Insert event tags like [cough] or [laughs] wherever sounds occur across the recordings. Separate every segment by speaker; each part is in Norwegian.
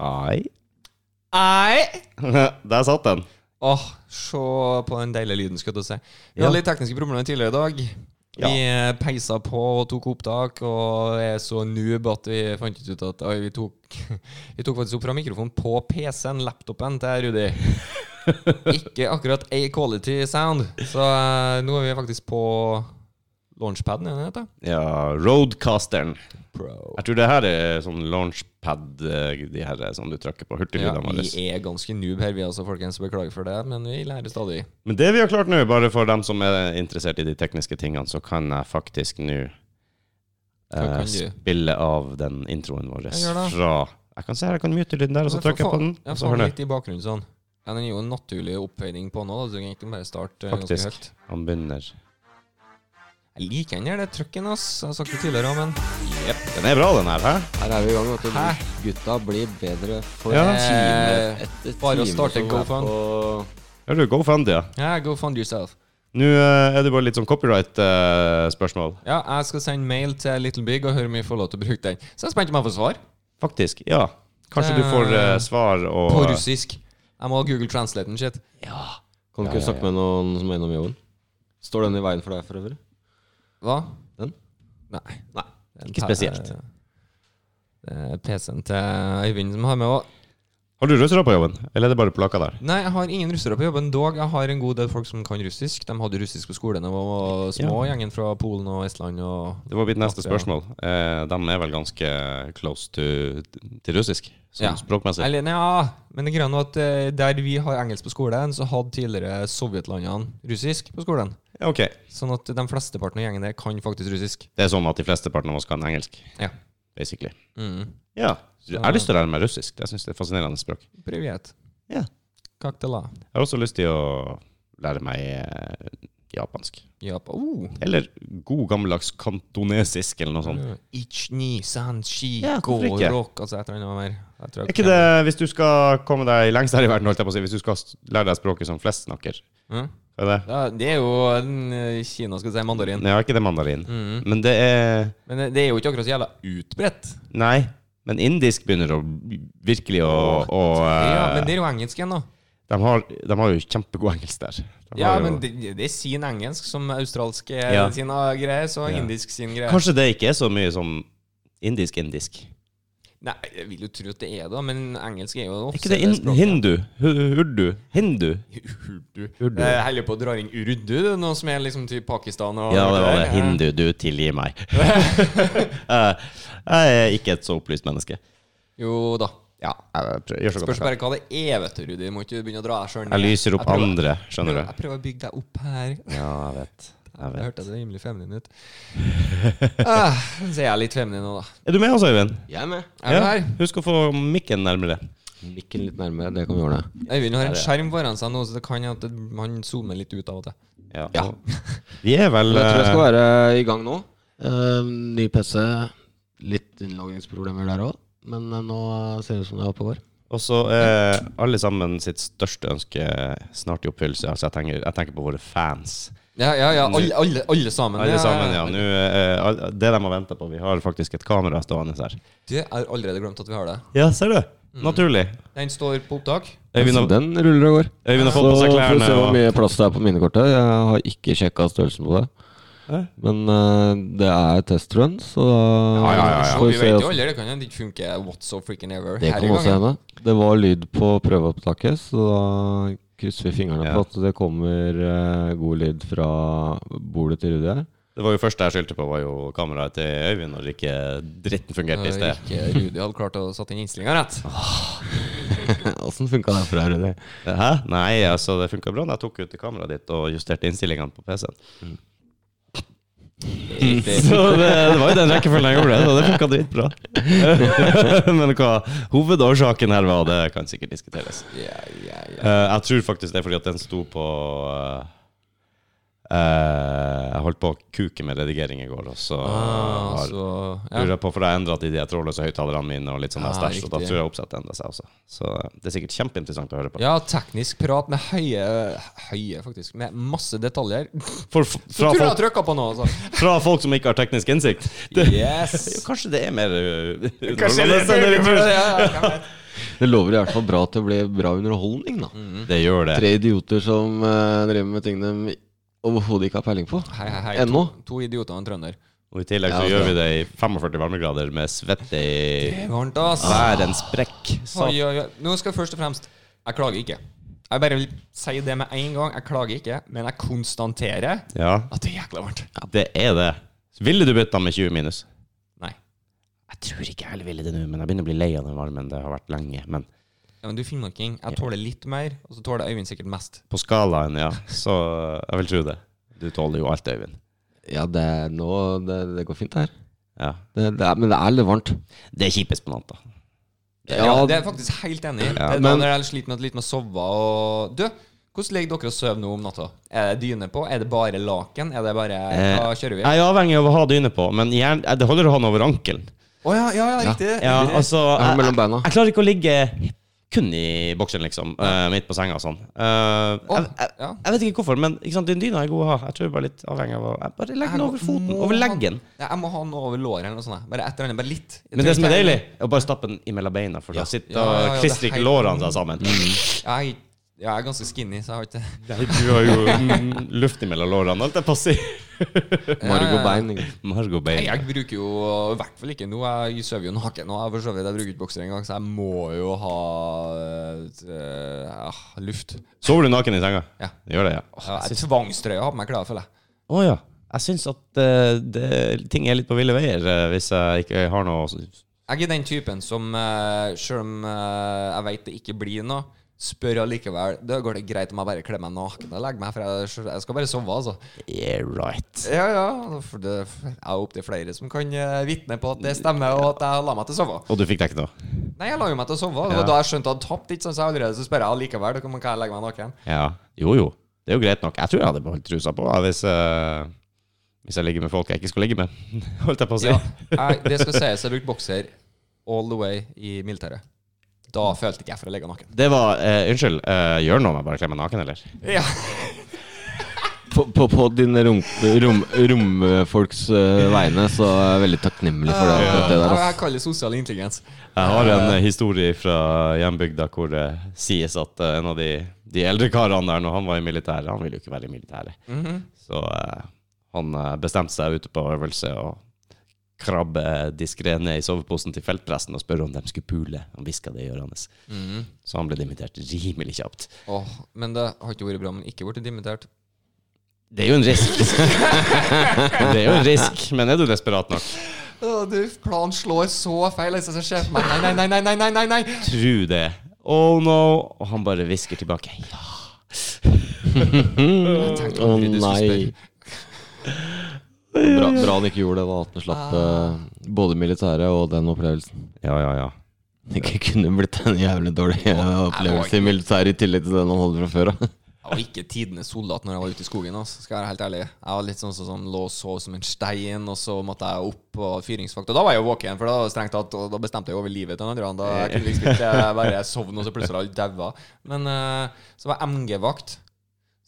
Speaker 1: Ai.
Speaker 2: Ei!
Speaker 1: Der satt den.
Speaker 2: Åh, se på den deilige lyden, skal du si. Vi hadde litt tekniske problemer tidligere i dag.
Speaker 1: Ja.
Speaker 2: Vi eh, peisa på og tok opptak, og er så noob at vi fant ikke ut at oi, vi tok, [laughs] vi tok faktisk opp fra mikrofonen på PC-en, laptopen til Rudi. Ikke akkurat a quality sound, så eh, nå er vi faktisk på launchpaden, er det det heter?
Speaker 1: Ja, Roadcasteren.
Speaker 2: Pro.
Speaker 1: Jeg tror det her er sånn launchpad, eh, de her eh, som du trykker på
Speaker 2: Ja,
Speaker 1: hurtiglydene våre.
Speaker 2: vi er ganske noob her, vi altså, folkens. Beklager for det, men vi lærer stadig.
Speaker 1: Men det vi har klart nå, bare for dem som er interessert i de tekniske tingene, så kan jeg faktisk nå
Speaker 2: Hva
Speaker 1: eh,
Speaker 2: kan du?
Speaker 1: spille av den introen vår
Speaker 2: Ja, gjør det.
Speaker 1: fra Jeg kan se her, jeg kan mute lyden der, og så
Speaker 2: Ja, for
Speaker 1: trykker jeg på
Speaker 2: faen-
Speaker 1: den.
Speaker 2: Ja,
Speaker 1: Og så
Speaker 2: faen
Speaker 1: hører du.
Speaker 2: litt i bakgrunnen sånn. Ja, den er jo en naturlig oppveining på nå, da. så Du kan egentlig bare starte eh, ganske
Speaker 1: Faktisk.
Speaker 2: høyt.
Speaker 1: Han begynner.
Speaker 2: Jeg liker den her, det trøkken, ass. Jeg har sagt det tidligere òg, men
Speaker 1: Jepp, den er bra, den her. Hæ?
Speaker 3: Her er vi i gang, vet du.
Speaker 2: Hæ?
Speaker 3: Gutta blir bedre for eh,
Speaker 1: Ja.
Speaker 3: time etter
Speaker 2: Eh, Bare å
Speaker 3: time
Speaker 2: starte
Speaker 3: som er
Speaker 2: GoFund.
Speaker 3: på-
Speaker 1: Hører du, go fund, ja.
Speaker 2: ja, go fund yourself.
Speaker 1: Nå eh, er det bare litt sånn eh, copyright-spørsmål.
Speaker 2: Ja, jeg skal sende mail til Little Big og høre om vi får lov til å bruke den. Så jeg er spent om jeg får svar.
Speaker 1: Faktisk. Ja. Kanskje du får eh, svar og
Speaker 2: På russisk. Jeg må ha Google Translaten shit.
Speaker 3: Kan du ikke snakke med noen som er innom jorden? Står den i veien for deg for øvrig?
Speaker 2: Hva?
Speaker 3: Den?
Speaker 2: Nei.
Speaker 3: Nei.
Speaker 2: Det er en
Speaker 1: Ikke
Speaker 2: pa-
Speaker 1: spesielt.
Speaker 2: eh, Det er PC-en til Øyvind som har med òg.
Speaker 1: Har du russere på jobben, eller er det bare polakker der?
Speaker 2: Nei, jeg har ingen russere på jobben, dog jeg har en god del folk som kan russisk. De hadde russisk på skolen da jeg var små, gjengen fra Polen og Estland og
Speaker 1: Det var mitt neste
Speaker 2: Ja.
Speaker 1: spørsmål. Eh, de er vel ganske close to, til russisk, sånn
Speaker 2: Ja.
Speaker 1: språkmessig.
Speaker 2: Eller, ja, men det greia nå at eh, der vi har engelsk på skolen, så hadde tidligere sovjetlandene russisk på skolen.
Speaker 1: Ja, Ok,
Speaker 2: Sånn at de flesteparten av gjengen der kan faktisk russisk.
Speaker 1: Det er sånn at de flesteparten av oss kan engelsk,
Speaker 2: Ja.
Speaker 1: basically.
Speaker 2: Mm.
Speaker 1: Ja. Jeg har lyst til å lære meg russisk. Jeg syns det er et fascinerende språk.
Speaker 2: Privet.
Speaker 1: Ja.
Speaker 2: Как дела?
Speaker 1: Jeg har også lyst til å lære meg eh, japansk.
Speaker 2: Japp. Oh.
Speaker 1: Eller god gammeldags kantonesisk, eller noe sånt.
Speaker 2: Ichni, san, shi,
Speaker 1: Ja,
Speaker 2: go,
Speaker 1: hvorfor ikke?
Speaker 2: rock Altså et eller annet mer. Jeg tror jeg
Speaker 1: Er ikke det, hvis du skal komme deg lengst her i verden, holdt jeg på å si, hvis du skal s- lære deg språket som flest snakker,
Speaker 2: Mm.
Speaker 1: hva er det?
Speaker 2: Ja, det er jo eh, Kina, skal du si, mandarin.
Speaker 1: Nei, er ikke det mandarin.
Speaker 2: Mm.
Speaker 1: Men det er
Speaker 2: Men det- det er jo ikke akkurat så jævla utbredt.
Speaker 1: Nei. Men indisk begynner å virkelig å, å
Speaker 2: Ja,
Speaker 1: eh,
Speaker 2: men det er jo engelsk igjen, da.
Speaker 1: de, har, de har jo kjempegod engelsk der. De
Speaker 2: Ja,
Speaker 1: har jo,
Speaker 2: men det, det er sin engelsk som australsk er
Speaker 1: Ja.
Speaker 2: sin ah, greie, så
Speaker 1: Ja.
Speaker 2: indisk sin greie.
Speaker 1: Kanskje det ikke er så mye som indisk-indisk.
Speaker 2: Nei, jeg vil jo tro at det er det, men engelsk er jo
Speaker 1: Er
Speaker 2: ofte
Speaker 1: ikke det in hindu? Hu- Urdu? Hindu?
Speaker 2: Urdu.
Speaker 1: Urdu.
Speaker 2: Jeg holder på å dra inn urdu, det er noe som er liksom til Pakistan og
Speaker 1: Ja, det var det.
Speaker 2: Ja.
Speaker 1: Hindu. Du, tilgi meg. Eh, jeg er ikke et så opplyst menneske.
Speaker 2: Jo da.
Speaker 1: Ja, jeg prøver, gjør så godt
Speaker 2: Spørs
Speaker 1: jeg kan.
Speaker 2: bare hva det er, vet du, Rudi. Må ikke begynne å dra deg sjøl
Speaker 1: Jeg lyser opp
Speaker 2: prøver-
Speaker 1: andre, skjønner du.
Speaker 2: Jeg prøver å bygge deg opp her.
Speaker 1: Ja, jeg vet. Jeg
Speaker 2: Jeg
Speaker 1: vet.
Speaker 2: hørte det rimelig feminin ut. Ah, så er jeg litt feminin nå, da.
Speaker 1: Er du med oss, Øyvind?
Speaker 3: Jeg er med.
Speaker 2: Er du her?
Speaker 1: Husk å få mikken nærmere.
Speaker 3: Mikken litt nærmere, det kan vi ordne.
Speaker 2: Øyvind har en skjerm foran seg nå, så det kan hende at man zoomer litt ut av og til.
Speaker 1: Ja. Vi er vel
Speaker 3: Men jeg tror jeg skal
Speaker 1: eh,
Speaker 3: være i gang nå. Eh, ny PC. Litt innloggingsproblemer der òg. Men eh, nå ser det ut som det er oppe og går.
Speaker 1: Og så er alle sammen sitt største ønske snart i oppfyllelse. Altså, jeg tenker, jeg tenker på våre fans.
Speaker 2: Ja, ja, ja. Alle, alle, alle sammen.
Speaker 1: Alle sammen, ja. Nå, eh, all- det de har venta på. Vi har faktisk et kamera stående her.
Speaker 2: Du, jeg har allerede glemt at vi har det.
Speaker 1: Ja, ser du? Naturlig.
Speaker 2: Den står på opptak.
Speaker 1: Øyvind
Speaker 3: Så
Speaker 1: har,
Speaker 3: den ruller og går.
Speaker 1: Øyvind har
Speaker 3: Så
Speaker 1: fått på
Speaker 3: får
Speaker 1: seg
Speaker 3: vi se
Speaker 1: klærne.
Speaker 3: hvor
Speaker 1: Og,
Speaker 3: mye plass det er på minnekortet. Jeg har ikke sjekka størrelsen på det.
Speaker 1: Hæ?
Speaker 3: Men eh, det er testrun, så da
Speaker 1: Ja, ja, ja, ja.
Speaker 3: får
Speaker 2: Vi
Speaker 3: vi se.
Speaker 2: vet jo
Speaker 3: hvordan-
Speaker 2: aldri, det kan hende det ikke funker What's so freaking ever.
Speaker 3: Det
Speaker 2: her i
Speaker 3: kan også
Speaker 2: gangen.
Speaker 3: hende. Det var lyd på prøveopptaket, så da krysser vi fingrene
Speaker 1: Ja.
Speaker 3: på at det kommer eh, god lyd fra bordet til Rudi her.
Speaker 1: det var jo første jeg skyldte på, var jo kameraet til Øyvind, når ikke dritten fungerte i
Speaker 2: Eh,
Speaker 1: sted.
Speaker 2: Ikke Rudi hadde klart å satt inn innstillinga rett.
Speaker 3: [laughs]
Speaker 1: Ah,
Speaker 3: Åssen funka det for deg, Rudi?
Speaker 1: Hæ? Nei, altså, det funka bra. da Jeg tok ut kameraet ditt og justerte innstillingene på PC-en. Så det, det var jo den rekkefølgen jeg gjorde det, så det funka dritbra. Men hva hovedårsaken her var, det kan sikkert diskuteres.
Speaker 2: Ja, ja, ja.
Speaker 1: Eh, jeg tror faktisk det er fordi at den sto på eh, eh, Jeg holdt på å kuke med redigering i går, og så
Speaker 2: Ah,
Speaker 1: har-
Speaker 2: så ja.
Speaker 1: lurer jeg på, for jeg endra til de trådløse høyttalerne mine og litt sånn
Speaker 2: Ah,
Speaker 1: der stæsj, og da
Speaker 2: riktig.
Speaker 1: tror jeg oppsettet endra seg også. Så eh, det er sikkert kjempeinteressant å høre på.
Speaker 2: ja, teknisk prat med høye Høye, faktisk. Med masse detaljer.
Speaker 1: For, f-
Speaker 2: Så
Speaker 1: fra,
Speaker 2: tror jeg jeg
Speaker 1: folk,
Speaker 2: trykka på noe, altså.
Speaker 1: fra folk som ikke har teknisk innsikt. Det,
Speaker 2: Yes.
Speaker 1: Kanskje det er mer eh,
Speaker 2: Kanskje det
Speaker 1: underholdende enn det vi tror.
Speaker 2: Ja, ja, ja.
Speaker 3: Det lover i hvert fall bra til å bli bra underholdning, da.
Speaker 1: Det gjør det.
Speaker 3: Tre idioter som eh, driver med ting de overhodet ikke har peiling på.
Speaker 2: Hei, hei, hei.
Speaker 3: Ennå?
Speaker 2: To, to idioter og en trønder.
Speaker 1: Og I tillegg
Speaker 3: Ja,
Speaker 1: så
Speaker 3: det
Speaker 1: gjør
Speaker 3: er
Speaker 1: vi det i 45 varmegrader med svette i
Speaker 2: Det er varmt, ass.
Speaker 1: hver en sprekk. Så.
Speaker 2: Oi, oi, oi. Nå skal jeg først og fremst Jeg klager ikke. Jeg bare vil si det med en gang. Jeg klager ikke, men jeg konstaterer
Speaker 1: Ja,
Speaker 2: at det er jækla varmt.
Speaker 1: det er det. Ville du bytta med 20 minus?
Speaker 2: Nei.
Speaker 1: Jeg tror ikke jeg heller ville det nå, men jeg begynner å bli lei av den varmen. Det har vært lenge. Men
Speaker 2: Ja, men du er finnmarking. Jeg tåler litt mer, og så tåler Øyvind sikkert mest.
Speaker 1: på skalaen, ja. Så jeg vil tro det. Du tåler jo alt, Øyvind.
Speaker 3: Ja, det, er nå, det, det går fint, det her.
Speaker 1: Ja.
Speaker 3: Det, det er, men det er litt varmt.
Speaker 1: Det er kjipest på natta.
Speaker 2: Ja,
Speaker 3: Ja,
Speaker 2: det er jeg faktisk helt enig i. Det er da
Speaker 3: men-
Speaker 2: når jeg sliter med, litt med å sove og Du, hvordan ligger dere og sover nå om natta? Er det dyne på? Er det bare laken? Er det bare
Speaker 3: Eh,
Speaker 2: Hva kjører vi? Å
Speaker 1: Jeg er avhengig av å ha dyne på, men gjerne, det holder å ha den over ankelen.
Speaker 2: ja, ja, ja, riktig.
Speaker 1: Ja,
Speaker 2: riktig.
Speaker 1: altså,
Speaker 3: Jeg har
Speaker 1: jeg,
Speaker 3: mellom beina.
Speaker 1: jeg klarer ikke å ligge kun i boksen, liksom. eh, midt på senga og sånn. Eh, jeg,
Speaker 2: Å,
Speaker 1: jeg,
Speaker 2: ja.
Speaker 1: jeg vet ikke hvorfor, men ikke sant, den dyna er god å ha. Jeg tror jeg bare er litt avhengig av å jeg Bare legg den
Speaker 2: Jeg
Speaker 1: over foten.
Speaker 2: må
Speaker 1: Over
Speaker 2: ha-
Speaker 1: leggen.
Speaker 2: Ja, jeg må ha den over låret eller noe sånt. jeg. Bare et eller annet. Bare litt. Jeg
Speaker 1: Men
Speaker 2: tror
Speaker 1: det som er
Speaker 2: ikke
Speaker 1: deilig,
Speaker 2: jeg-
Speaker 1: er å bare stappe den imellom beina, for da sitter
Speaker 2: Ja, ja, ja,
Speaker 1: og
Speaker 2: det
Speaker 1: klistrer
Speaker 2: er
Speaker 1: ikke
Speaker 2: helt- Mm.
Speaker 1: lårene seg sammen.
Speaker 2: Jeg, er ikke- jeg er ganske skinny, så jeg har ikke
Speaker 1: Du har [laughs] jo mm, luft imellom lårene, holdt jeg på å si.
Speaker 3: Margot
Speaker 2: ja.
Speaker 3: Bein. ikke sant?
Speaker 1: Margot
Speaker 2: Nei,
Speaker 1: Bain.
Speaker 2: Jeg bruker jo i hvert fall ikke noe. Jeg sover jo naken nå. Jeg, for så vidt, jeg bruker ikke bokser engang, så jeg må jo ha eh, ah, luft.
Speaker 1: Sover du naken i senga?
Speaker 2: Ja.
Speaker 1: Gjør det, ja. Åh,
Speaker 2: Ja,
Speaker 1: jeg
Speaker 2: jeg
Speaker 1: syns-
Speaker 2: tvangstrøya har på meg klær, føler jeg.
Speaker 1: Å ja. Jeg syns at eh, det, ting er litt på ville veier eh, hvis jeg ikke har noe
Speaker 2: Jeg er den typen som, uh, selv om eh, jeg vet det ikke blir noe, spør allikevel. Da går det greit om jeg bare kler meg naken og legger meg, for jeg, jeg skal bare sove, altså.
Speaker 1: Yeah, right.
Speaker 2: Ja, ja. For det, jeg er opptil flere som kan uh, vitne på at det stemmer, og at jeg la meg til å sove.
Speaker 1: Og du fikk deg ikke noe?
Speaker 2: Nei, jeg la jo meg til å sove. Det
Speaker 1: Ja.
Speaker 2: var da jeg skjønte jeg hadde tapt, ikke sant, så jeg allerede så spør jeg allikevel. Da kan man- kan jeg legge meg naken.
Speaker 1: Ja. Jo, jo. Det er jo greit nok. Jeg tror jeg hadde beholdt trusa på jeg, hvis, eh, hvis jeg ligger med folk jeg ikke skulle ligge med. [laughs] Holdt jeg på å si.
Speaker 2: Ja, jeg, det skal sies, jeg brukte bokser all the way i militæret. Da følte ikke jeg for å ligge naken.
Speaker 1: Det var eh, Unnskyld, eh, gjør noe om jeg bare kler meg naken, eller?
Speaker 2: Ja.
Speaker 3: På, på, på dine rom, rom, romfolks eh, vegne, så er jeg veldig takknemlig for det. akkurat det der,
Speaker 2: Jeg
Speaker 3: ass.
Speaker 2: kaller det sosial intelligens.
Speaker 1: Jeg har en eh, historie fra hjembygda hvor det sies at eh, en av de, de eldre karene der, når han var i militæret Han ville jo ikke være i militæret. Så eh, han eh, bestemte seg ute på øvelse og krabbe diskré ned i soveposen til feltpresten og spørre om de skulle pule. Han hviska det i øret hans. Så han ble dimittert rimelig kjapt.
Speaker 2: Åh, men det har ikke vært bra om han ikke ble dimittert.
Speaker 1: Det er jo en risk. [laughs] det er jo en risk, men er du desperat nok?
Speaker 2: Åh, du, planen slår så feil. Jeg ser sjefen meg. Nei, nei, nei, nei, nei, nei, nei.
Speaker 1: Tru det. Oh no. Og han bare hvisker tilbake. Ja.
Speaker 3: Å nei. Bra, bra han ikke gjorde det, da. At han slapp eh, både militæret og den opplevelsen.
Speaker 1: Ja, ja, ja.
Speaker 3: Det ikke kunne blitt en jævlig dårlig eh, opplevelse i militæret i tillegg til den han hadde fra før av.
Speaker 2: Jeg var ikke tidenes soldat når jeg var ute i skogen. Altså. Skal jeg være helt ærlig Jeg var litt sånn som som lå og sov som en stein, og så måtte jeg opp på fyringsvakt. Og da var jeg jo våken, for da var det strengt tatt Og da bestemte jeg over livet til den andre. Da
Speaker 1: Eh.
Speaker 2: jeg kunne liksom ikke bare sovne, og så plutselig alle daua. Men eh, så var jeg MG-vakt.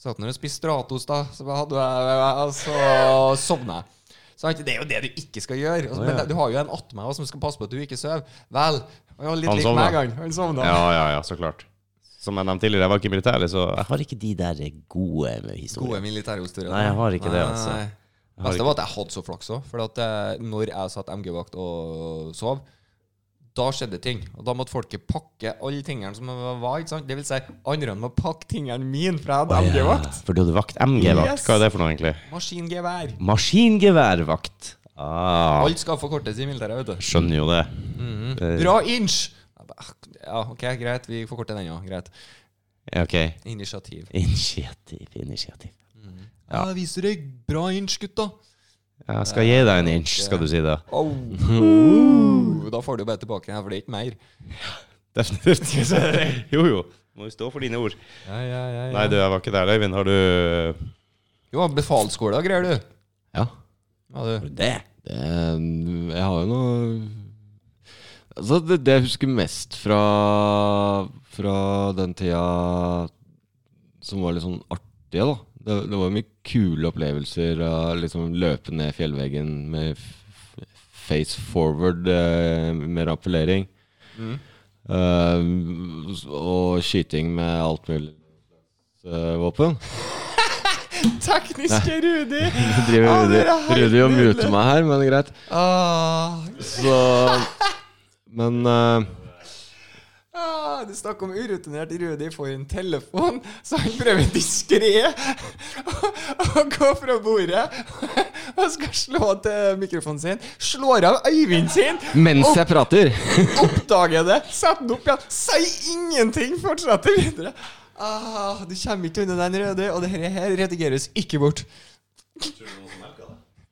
Speaker 2: Så at når jeg spiste Stratos, da, så hadde jeg Og så sovna jeg. Så det er jo det du ikke skal gjøre. Altså, Men du har jo en attmed også som skal passe på at du ikke sover. Vel, han var litt
Speaker 1: Han
Speaker 2: lik
Speaker 1: sovna.
Speaker 2: meg en gang. Han sovna.
Speaker 1: Ja, ja, ja, så klart. Som jeg nevnte tidligere, jeg var ikke i militæret, så jeg har ikke de der gode historiene.
Speaker 2: Gode militærhistorier.
Speaker 1: Nei, jeg har ikke det, altså.
Speaker 2: Nei.
Speaker 1: har
Speaker 2: Beste var at jeg hadde så flaks òg. For at eh, når jeg satt MG-vakt og sov, da skjedde ting. Og da måtte folket pakke alle tingene som var, ikke sant? Det vil si, andre enn å pakke tingene mine fra en MG-vakt.
Speaker 1: For du hadde vakt MG-vakt.
Speaker 2: Yes.
Speaker 1: Hva er det for noe, egentlig?
Speaker 2: Maskingevær.
Speaker 1: Maskingeværvakt. Ah,
Speaker 2: Alt skal forkortes i militæret, vet du.
Speaker 1: skjønner jo det. Eh,
Speaker 2: Mhm. Bra inch! Jeg bare, "Ah, Ja, OK, greit, vi forkorter den òg. Greit.
Speaker 1: OK.
Speaker 2: Initiativ.
Speaker 1: Initiativ, initiativ.
Speaker 2: Ja, viser deg bra inch, gutta.
Speaker 1: Jeg skal gi deg en inch, skal du si det.
Speaker 2: Au.
Speaker 1: [laughs]
Speaker 2: Da får du bare tilbake den, her, for det er ikke mer.
Speaker 1: Definitivt.
Speaker 2: [laughs]
Speaker 1: Jo, jo. Må jo stå for dine ord.
Speaker 2: Ja, ja, ja,
Speaker 1: Nei, du, jeg var ikke der, Øyvind. Har du
Speaker 2: Jo, befalsskole og greier, du.
Speaker 3: Ja.
Speaker 2: Ja, du.
Speaker 1: Det?
Speaker 3: Det, Ehm, jeg har jo noe altså det, det jeg husker mest fra, fra den tida som var litt sånn artige, da. Det, det var mye kule opplevelser av liksom løpe ned fjellveggen
Speaker 2: Mm.
Speaker 3: med f- face forward eh, med rappellering. eh, og skyting med alt mulig eh, våpen. [laughs]
Speaker 2: Tekniske [laughs] Rudi!
Speaker 3: Så driver
Speaker 2: Ah,
Speaker 3: Rudi,
Speaker 2: det er helt
Speaker 3: Rudi og
Speaker 2: nydelig.
Speaker 3: muter meg her, men greit.
Speaker 2: Ah,
Speaker 3: Så Men eh,
Speaker 2: ah, du snakker om urutinert Rudi får en telefon, så han prøver diskré [laughs] å gå fra bordet [laughs] og skal slå til mikrofonen sin. Slår av Øyvind sin,
Speaker 3: mens jeg [laughs] prater
Speaker 2: oppdager det, setter den opp igjen, sier ingenting, fortsetter videre. Ah, du kommer ikke unna den røde, og det her- her redigeres ikke bort.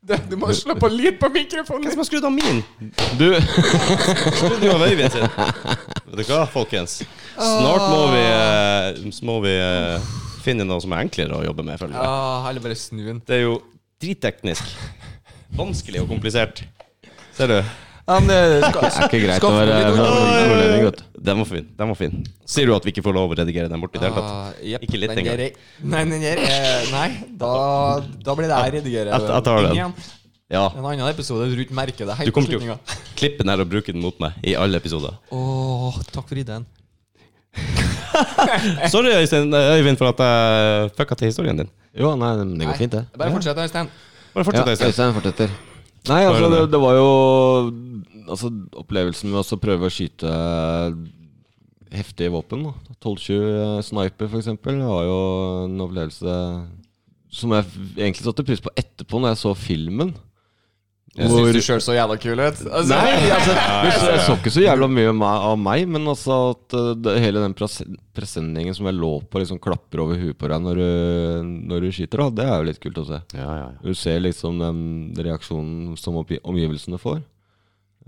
Speaker 2: Du, du må slå på lyd på mikrofonen.
Speaker 1: Hvem har skrudd av min?
Speaker 3: Du
Speaker 1: Skrudd av Øyvind sin. Vet du hva, folkens? Snart må vi, eh, så må vi eh, finne noe som er enklere å jobbe med, føler jeg.
Speaker 2: Ah, eller bare snu den.
Speaker 1: Det er jo dritteknisk. Vanskelig og komplisert. Ser du?
Speaker 2: Ja, men det
Speaker 1: [laughs]
Speaker 2: skal,
Speaker 3: Det er ikke greit eh, å
Speaker 2: skaff
Speaker 3: være
Speaker 2: litt ord.
Speaker 3: nordlending, vet du.
Speaker 1: Den var fin. den var fin Sier du at vi ikke får lov å redigere den bort i det hele tatt?
Speaker 2: Ah, jepp,
Speaker 1: Ikke litt
Speaker 2: den
Speaker 1: engang.
Speaker 2: der er- Nei, den der er- Nei, da, da blir det jeg redigerer.
Speaker 1: Jeg- jeg tar den.
Speaker 2: igjen.
Speaker 1: Ja.
Speaker 2: En annen episode du ikke merker det helt.
Speaker 1: Du
Speaker 2: på
Speaker 1: kommer til å
Speaker 2: slutningen.
Speaker 1: klippe den her og bruke den mot meg i alle episoder.
Speaker 2: Åh, takk for ideen.
Speaker 1: Sorry, Øystein, Øyvind, for at jeg fucka til historien din.
Speaker 3: Jo, nei, men det
Speaker 2: Nei,
Speaker 3: går fint, det.
Speaker 2: Bare fortsett, Øystein.
Speaker 1: Bare
Speaker 3: Ja,
Speaker 1: fortsett, Øystein.
Speaker 3: Øystein fortsetter. Nei, altså, det, det var jo altså, opplevelsen med å prøve å skyte heftige våpen. da. 12-20 sniper, for eksempel, var jo en opplevelse som jeg f- egentlig satte pris på etterpå, når jeg så filmen.
Speaker 2: Jeg syns du sjøl så jævla kul ut. Altså,
Speaker 3: Nei, altså, jeg, så,
Speaker 1: ja,
Speaker 3: jeg
Speaker 1: ja.
Speaker 3: så ikke så jævla mye av meg- av meg, men altså at eh, det, hele den prese- presenningen som jeg lå på, liksom klapper over huet på deg når du, når du skyter, da, det er jo litt kult å se.
Speaker 1: Ja, ja, ja.
Speaker 3: Du ser liksom den reaksjonen som oppgi- omgivelsene får.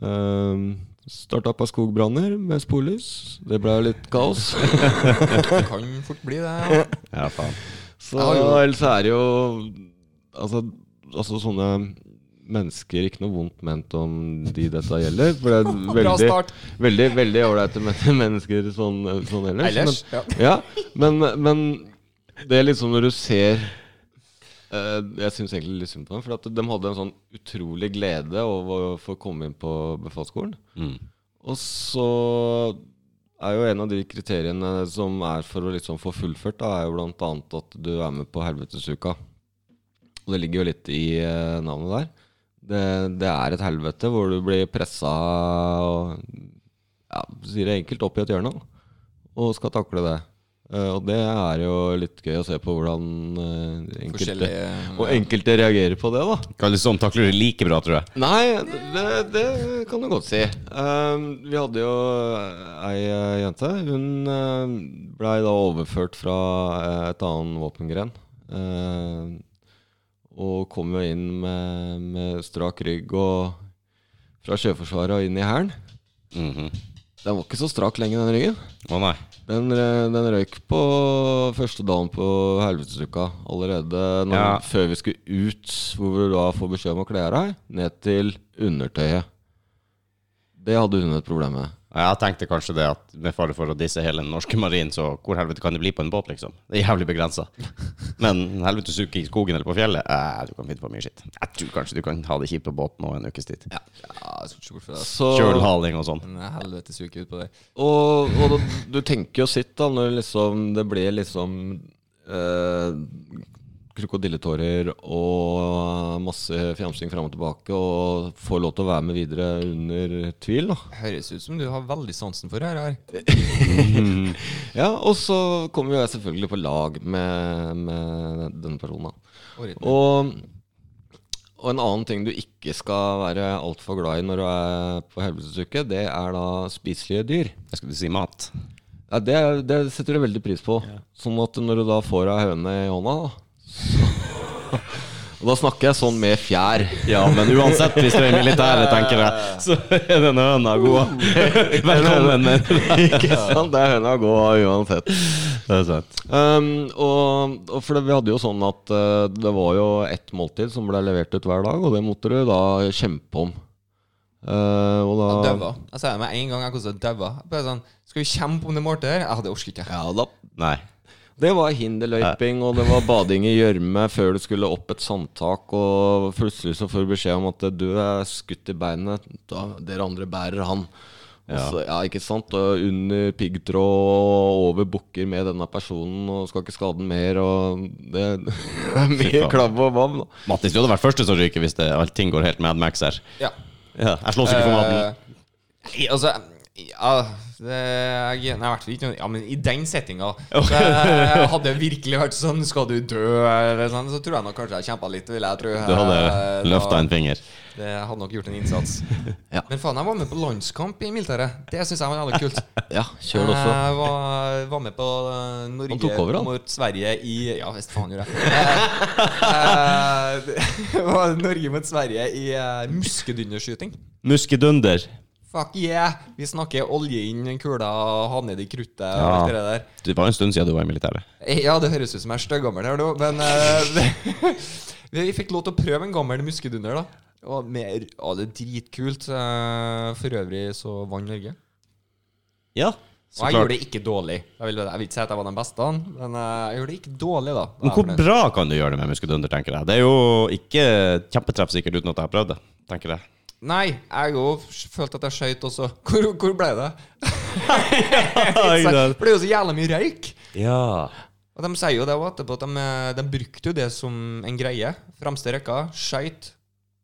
Speaker 3: Um, Starta opp av skogbranner med sporlys. Det ble litt kaos.
Speaker 2: [laughs] Det kan fort bli det.
Speaker 1: [laughs]
Speaker 2: ja.
Speaker 1: ja faen.
Speaker 3: Så
Speaker 2: Ja, jo.
Speaker 3: ellers er det jo altså, altså sånne mennesker Ikke noe vondt ment om de dette gjelder. For det er
Speaker 2: Bra
Speaker 3: veldig
Speaker 2: start.
Speaker 3: Veldig, veldig ålreite [laughs] men- mennesker sånn, sånn ellers.
Speaker 2: Ellers,
Speaker 3: men, ja. men, men det er liksom når du ser eh, Jeg syns egentlig litt synd på dem. For at de hadde en sånn utrolig glede over å få komme inn på befalsskolen.
Speaker 1: Mm.
Speaker 3: Og så er jo en av de kriteriene som er for å liksom få fullført, da, er jo bl.a. at du er med på Helvetesuka. Og det ligger jo litt i eh, navnet der. Det, det er et helvete hvor du blir pressa og ja, sier det enkelt opp i et hjørne da, og skal takle det. Eh, og det er jo litt gøy å se på hvordan eh, enkelte,
Speaker 2: Forskjellige
Speaker 3: og enkelte reagerer på det, da.
Speaker 1: Kalle Stom takler det like bra, tror jeg.
Speaker 3: Nei, det, det kan du godt si. Ehm, vi hadde jo ei eh, jente. Hun eh, blei da overført fra eh, et annen våpengren. Ehm, og kom jo inn med, med strak rygg og fra Sjøforsvaret og inn i Hæren.
Speaker 1: Mhm.
Speaker 3: Den var ikke så strak lenger, den ryggen.
Speaker 1: Å nei.
Speaker 3: Den, rø- eh, den røyk på første dagen på helvetesuka allerede når,
Speaker 1: Ja.
Speaker 3: før vi skulle ut, hvor du da får beskjed om å kle av deg, ned til undertøyet. Det hadde hun et problem med.
Speaker 1: Jeg tenkte kanskje det at med fare for å disse hele den norske marin, så hvor helvete kan det bli på en båt, liksom? Det er jævlig begrensa. Men helvetes uke i skogen eller på fjellet, eh, du kan finne på mye skitt. Jeg tror kanskje du kan ha det kjipt på båten òg en ukes tid.
Speaker 2: Ja, jeg skal ikke se bort fra det.
Speaker 3: Så,
Speaker 1: Kjølhaling og sånn.
Speaker 2: En helvetes uke ut på det.
Speaker 3: og og da, du tenker jo sitt da, når liksom, det blir liksom eh, krokodilletårer og masse fjamsing fram og tilbake, og får lov til å være med videre under tvil. da.
Speaker 2: Høres ut som du har veldig sansen for det her. her.
Speaker 3: Ja, og så kom jo jeg selvfølgelig på lag med, med denne personen. da.
Speaker 2: Favoritt.
Speaker 3: Og, og en annen ting du ikke skal være altfor glad i når du er på helvetesuke, det er da spiselige dyr.
Speaker 1: Jeg skulle si mat.
Speaker 3: Ja, det, det setter du veldig pris på. Sånn at når du da får ei høne i hånda da, så, [laughs] Og da snakker jeg sånn med fjær.
Speaker 1: Ja, men
Speaker 3: [laughs]
Speaker 1: uansett, hvis du er i militæret, tenker jeg, [laughs] så er den høna god. [laughs] Velkommen. [laughs]
Speaker 3: Ikke sant? Det er høna å gå av uansett.
Speaker 1: Det er sant.
Speaker 3: Um, og, og for det, Vi hadde jo sånn at eh, det var jo ett måltid som ble levert ut hver dag, og det måtte du da kjempe om. Eh, og da,
Speaker 2: Jeg daua. Jeg sa det med en gang jeg koste daua. Jeg Bare sånn Skal vi kjempe om det målet her? Ja, det orker ikke.
Speaker 3: ja, da
Speaker 1: Nei.
Speaker 3: Det var hinderløyping, og det var bading i gjørme før du skulle opp et sandtak, og eh, plutselig så får du beskjed om at du er skutt i beinet. Da, dere andre bærer han.
Speaker 1: Ja.
Speaker 3: Altså, ja, ikke sant? Og under piggtråd og over bukker med denne personen, og skal ikke skade den mer, og det, det er [laughs] mye
Speaker 1: faen.
Speaker 3: klabb og bam, da.
Speaker 1: Mattis, du hadde vært første som ryker hvis det, alt ting går helt Mad Max her.
Speaker 2: Ja.
Speaker 1: Ja, jeg slåss ikke for maten.
Speaker 2: Eh, altså ja, det, jeg, nei, jeg vet ikke, ja, men i den settinga
Speaker 1: [laughs]
Speaker 2: så jeg Hadde det virkelig vært sånn Skal du dø, eller sånn, så tror jeg nok kanskje jeg kjempa litt. Vil jeg tro.
Speaker 1: Du
Speaker 2: Eh,
Speaker 1: hadde
Speaker 2: da-
Speaker 1: løfta en finger.
Speaker 2: Det jeg hadde nok gjort en
Speaker 1: [laughs]
Speaker 2: innsats.
Speaker 3: Ja.
Speaker 2: Men faen, jeg var med på landskamp i militæret. Det syns jeg var jævlig
Speaker 1: [laughs]
Speaker 2: kult.
Speaker 3: Ja, kjør det også.
Speaker 2: Eh, Jeg var, var med på eh, Norge
Speaker 3: Han tok over, han.
Speaker 2: mot Sverige i Ja, visst faen gjorde jeg Eh, [laughs] det. var Norge mot Sverige i eh, muskedynderskyting.
Speaker 1: Muskedunder.
Speaker 2: Fuck yeah! Vi snakker olje inn den kula og ha ned i kruttet og
Speaker 1: Ja.
Speaker 2: alt det der.
Speaker 1: Det var en stund siden du var i militæret.
Speaker 2: Eh, Ja, det høres ut som jeg er støgammel her nå, men eh, [laughs] Vi fikk lov til å prøve en gammel muskedunder, da. Og mer, å, det er dritkult. Eh, For øvrig så vant Norge.
Speaker 1: Ja,
Speaker 2: Og
Speaker 1: så
Speaker 2: jeg gjorde
Speaker 1: klart.
Speaker 2: det ikke dårlig. Jeg vil, jeg vil ikke si at jeg var den beste, men eh, jeg gjorde det ikke dårlig, da.
Speaker 1: Men hvor
Speaker 2: Jeg er fornøyd.
Speaker 1: bra kan du gjøre det med muskedunder, tenker jeg. Det er jo ikke kjempetreffsikkert uten at jeg har prøvd det, tenker jeg.
Speaker 2: Nei, jeg jo f- følte at jeg skøyt også. Hvor, hvor ble
Speaker 1: [laughs]
Speaker 2: det? [laughs]
Speaker 1: ikke sant.
Speaker 2: For det er jo så jævlig mye røyk.
Speaker 1: Ja.
Speaker 2: Og de sier jo det også etterpå, at de, eh, de brukte jo det som en greie. Fremste rekka, skøyt.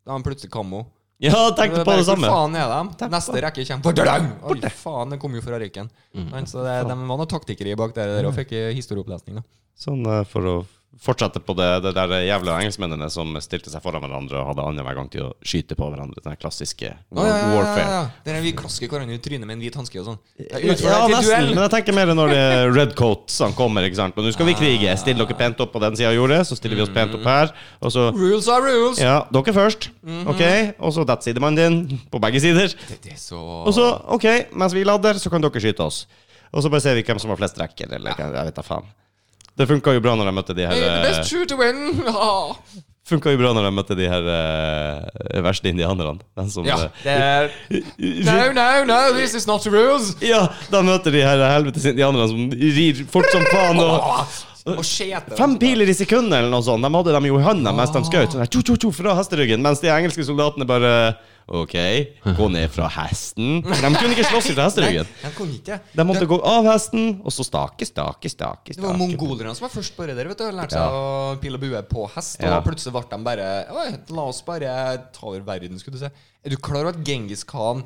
Speaker 2: Da har de plutselig kammo.
Speaker 1: Ja, jeg tenkte på det samme.
Speaker 2: Hvor faen er de? Neste rekke kommer Bordadang! Oi, faen, det kom jo fra røyken.
Speaker 1: Mm.
Speaker 2: Men Så det, de var noen taktikere bak der, der og fikk eh, historieopplesning, da.
Speaker 1: Sånn eh, for å fortsette på det, det der jævla engelskmennene som stilte seg foran hverandre og hadde annenhver gang til å skyte på hverandre. Den klassiske
Speaker 2: Å, ja, ja, ja,
Speaker 1: warfare.
Speaker 2: ja. Det er vi klasker hverandre i trynet med en hvit hanske og sånn. Det er utfordring
Speaker 1: Ja,
Speaker 2: til
Speaker 1: nesten.
Speaker 2: duell.
Speaker 1: Men jeg tenker mer når det er red coatsene kommer. ikke sant? Og nå skal vi
Speaker 2: Ah.
Speaker 1: krige. Still dere pent opp på den sida av jordet, så stiller vi oss pent opp her. Og så
Speaker 2: Rules are rules!
Speaker 1: Ja, dere først.
Speaker 2: Mhm.
Speaker 1: OK? Og så that's sidemannen din på begge sider.
Speaker 2: Det, det er så
Speaker 1: Og så OK, mens vi lader, så kan dere skyte oss. Og så bare ser vi hvem som har flest rekker, eller hva- jeg vet da faen. Det funka jo bra når jeg møtte de
Speaker 2: May the
Speaker 1: her eh,
Speaker 2: best shoot to win! Ah.
Speaker 1: Funka jo bra når jeg møtte de her eh, verste indianerne. Den som
Speaker 2: Ja,
Speaker 1: eh,
Speaker 2: det er No, no, no, this is not the rules!
Speaker 1: ja, da møter de her helvetes indianerne som rir fort som faen. og
Speaker 2: Ah. Og skjete.
Speaker 1: Fem piler i sekundet eller noe sånt. De hadde dem jo i
Speaker 2: Ah.
Speaker 1: hånda mens de skjøt. Sånn der, tjo, tjo, tjo, fra hesteryggen. Mens de engelske soldatene bare OK, gå ned fra hesten. For de kunne ikke slåss fra hesteryggen.
Speaker 2: Jeg kunne ikke det.
Speaker 1: De måtte gå av hesten, og så stake, stake,
Speaker 2: Det
Speaker 1: stake.
Speaker 2: var
Speaker 1: stake.
Speaker 2: mongolerne som var først på det der, vet du. Lærte seg
Speaker 1: Ja.
Speaker 2: å pile og bue på hest, og
Speaker 1: Ja.
Speaker 2: plutselig ble de bare Oi, la oss bare ta over verden, skulle du si. Er du klar over at Genghis Khan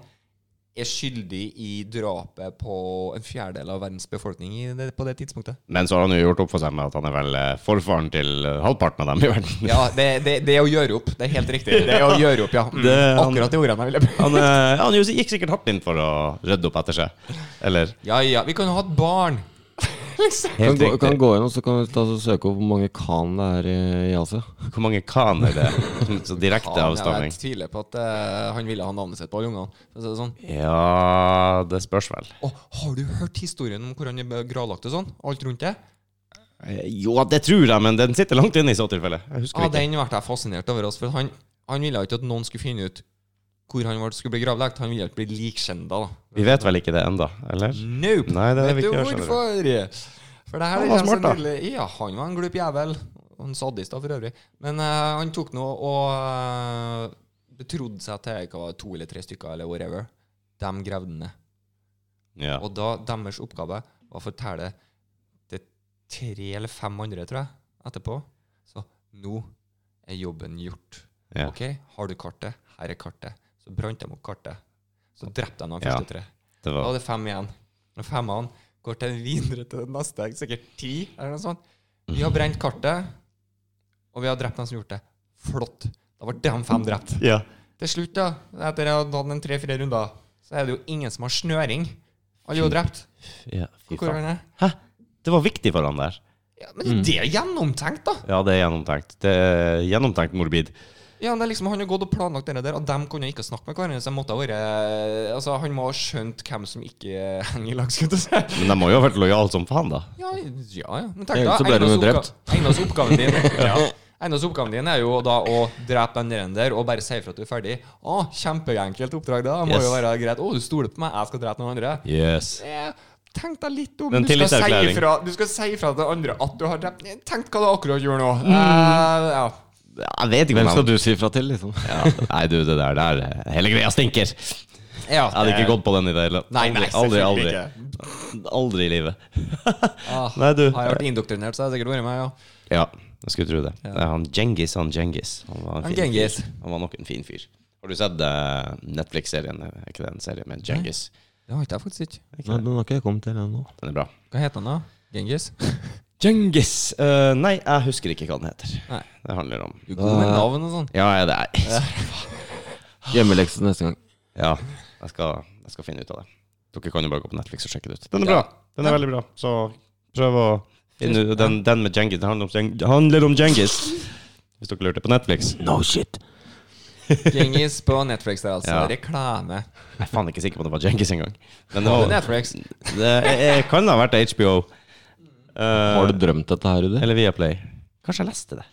Speaker 2: er skyldig i drapet på en fjerdedel av verdens befolkning i det, på det tidspunktet?
Speaker 1: Men så har han jo gjort opp for seg med at han er vel eh, forfaren til eh, halvparten av dem i verden.
Speaker 2: Ja, det, det, det er å gjøre opp. Det er helt riktig. Det er å gjøre opp, ja. Mm,
Speaker 1: Det- han-
Speaker 2: Akkurat de ordene jeg ville bruke.
Speaker 1: [laughs] Han, eh, han jo gikk sikkert hardt inn for å rydde opp etter seg. Eller
Speaker 2: Ja, ja. Vi kan jo ha et barn. liksom.
Speaker 3: Kan
Speaker 1: helt
Speaker 3: gå, kan
Speaker 1: riktig.
Speaker 3: gå inn og så kan vi ta, og søke opp hvor mange kan det er i, i Asia.
Speaker 1: Hvor mange kan
Speaker 2: [laughs]
Speaker 1: er det? Som- Så direkte
Speaker 2: Ja, men
Speaker 1: avstamning.
Speaker 2: Jeg tviler på at eh, han ville ha navnet sitt på alle ungene. Så er det sånn.
Speaker 1: Ja, det spørs vel.
Speaker 2: Og har du hørt historien om hvor han er gravlagt og sånn? Alt rundt det?
Speaker 1: Eh, Jo, det tror jeg, men den sitter langt inne i så tilfelle. Jeg husker
Speaker 2: Ja,
Speaker 1: ikke.
Speaker 2: den ble jeg fascinert over. Altså, for han, han ville ikke at noen skulle finne ut hvor han var- skulle bli gravlagt. Han ville ikke bli likskjenda. da.
Speaker 1: Vi vet vel ikke det enda, eller?
Speaker 2: Nope.
Speaker 1: Nei, det
Speaker 2: Vet
Speaker 1: er vi
Speaker 2: du
Speaker 1: ikke, skjønner du.
Speaker 2: hvorfor? For det her
Speaker 1: Han
Speaker 2: er
Speaker 1: var
Speaker 2: liksom
Speaker 1: smart, da.
Speaker 2: nydelig. Ja, han var en glup jævel. Og En sadist, da, for øvrig. Men eh, han tok nå og eh, betrodde seg til hva, var det, to eller tre stykker, eller whatever. De gravde den ned.
Speaker 1: Ja.
Speaker 2: Og da deres oppgave var å fortelle til tre eller fem andre, tror jeg, etterpå. Så nå er jobben gjort.
Speaker 1: Ja.
Speaker 2: Ok, har du kartet? Her er kartet. Så brant de opp kartet. Så drepte de de
Speaker 1: Ja.
Speaker 2: første tre. Da
Speaker 1: Det var
Speaker 2: er det fem igjen. Og femmene går til videre til den neste, sikkert ti, eller noe sånt. Vi
Speaker 1: Mhm.
Speaker 2: har brent kartet, og vi har drept dem som gjorde det. Flott. Da ble de fem drept.
Speaker 1: [laughs] ja.
Speaker 2: Til slutt, da, etter å ha hatt en tre-fire runder, så er det jo ingen som har snøring. Alle er jo drept.
Speaker 1: ja. Fy
Speaker 2: Hvor er
Speaker 1: faen.
Speaker 2: det?
Speaker 1: Hæ? Det var viktig for han der.
Speaker 2: Ja, men det er gjennomtenkt, da!
Speaker 1: Ja, det er gjennomtenkt. Det er gjennomtenkt morbid.
Speaker 2: Ja, det er liksom, Han har gått og planlagt det der, og de kunne ikke snakke med hverandre. Så det måtte ha vært Altså, Han må ha skjønt hvem som ikke henger i lag, skulle jeg til å si.
Speaker 1: Men de må jo ha vært lojale som faen, da.
Speaker 2: Ja, ja. ja. Men tenk da,
Speaker 3: Ja, ellers så ble de jo drept.
Speaker 2: Einas oppgaven din ja. Einas oppgaven din er jo da å drepe den der der og bare si ifra at du er ferdig. Å, kjempeenkelt oppdrag, da. Må
Speaker 1: Yes.
Speaker 2: jo være greit. Å, du stoler på meg, jeg skal drepe noen andre.
Speaker 1: Yes.
Speaker 2: Eh, Tenk deg litt om.
Speaker 1: Men
Speaker 2: Du skal, si
Speaker 1: tillitserklæring.
Speaker 2: ifra, du skal si ifra til andre at du har drept Tenk hva du akkurat gjorde nå. Eh, ja.
Speaker 1: Jeg vet ikke
Speaker 3: Hvem skal
Speaker 1: du
Speaker 3: du si fra til, liksom?
Speaker 1: ja. Nei, du, det der, der Hele greia stinker.
Speaker 2: Ja,
Speaker 1: Jeg hadde ikke gått på den i det hele
Speaker 2: Nei, nei,
Speaker 1: aldri, aldri,
Speaker 4: selvfølgelig
Speaker 1: aldri. Aldri i livet.
Speaker 2: Ah,
Speaker 1: Nei, du.
Speaker 2: Har jeg vært indoktrinert, så har jeg sikkert vært med, ja.
Speaker 1: Ja, jeg skulle tro det. Det er han Genghis, han Genghis. Han var, en
Speaker 2: Han
Speaker 1: fin fyr.
Speaker 2: Genghis.
Speaker 1: han var nok en fin fyr. Har du sett eh, Netflix-serien? Er Ikke den serien, men Genghis.
Speaker 2: Det har ikke jeg faktisk ikke.
Speaker 3: Nei, den har ikke jeg kommet til ennå.
Speaker 1: Den er bra.
Speaker 2: Hva heter han da? Genghis?
Speaker 1: Genghis eh, Nei, jeg husker ikke hva den heter.
Speaker 2: Nei.
Speaker 1: Det handler om
Speaker 2: Du er god med navn og sånn.
Speaker 1: Ja, ja, det er
Speaker 3: Hjemmelekse neste gang.
Speaker 1: [laughs] Ja, jeg skal, jeg skal finne ut av det. Dere kan jo bare gå på Netflix og sjekke det ut. Den er bra. Den er veldig bra. Så prøv å finne ut den, den med Genghis. Det handler om, Geng- det handler om Genghis. Hvis dere lurte på Netflix.
Speaker 3: No shit.
Speaker 2: Genghis på Netflix, det er altså.
Speaker 1: Ja.
Speaker 2: Reklame.
Speaker 1: Jeg er faen ikke sikker på om det var Genghis engang. Men
Speaker 2: På
Speaker 1: det, var,
Speaker 2: Netflix.
Speaker 1: det jeg, kan ha vært HBO. Eh,
Speaker 3: Har du drømt dette her, Rudi?
Speaker 1: eller Viaplay. Kanskje jeg leste det.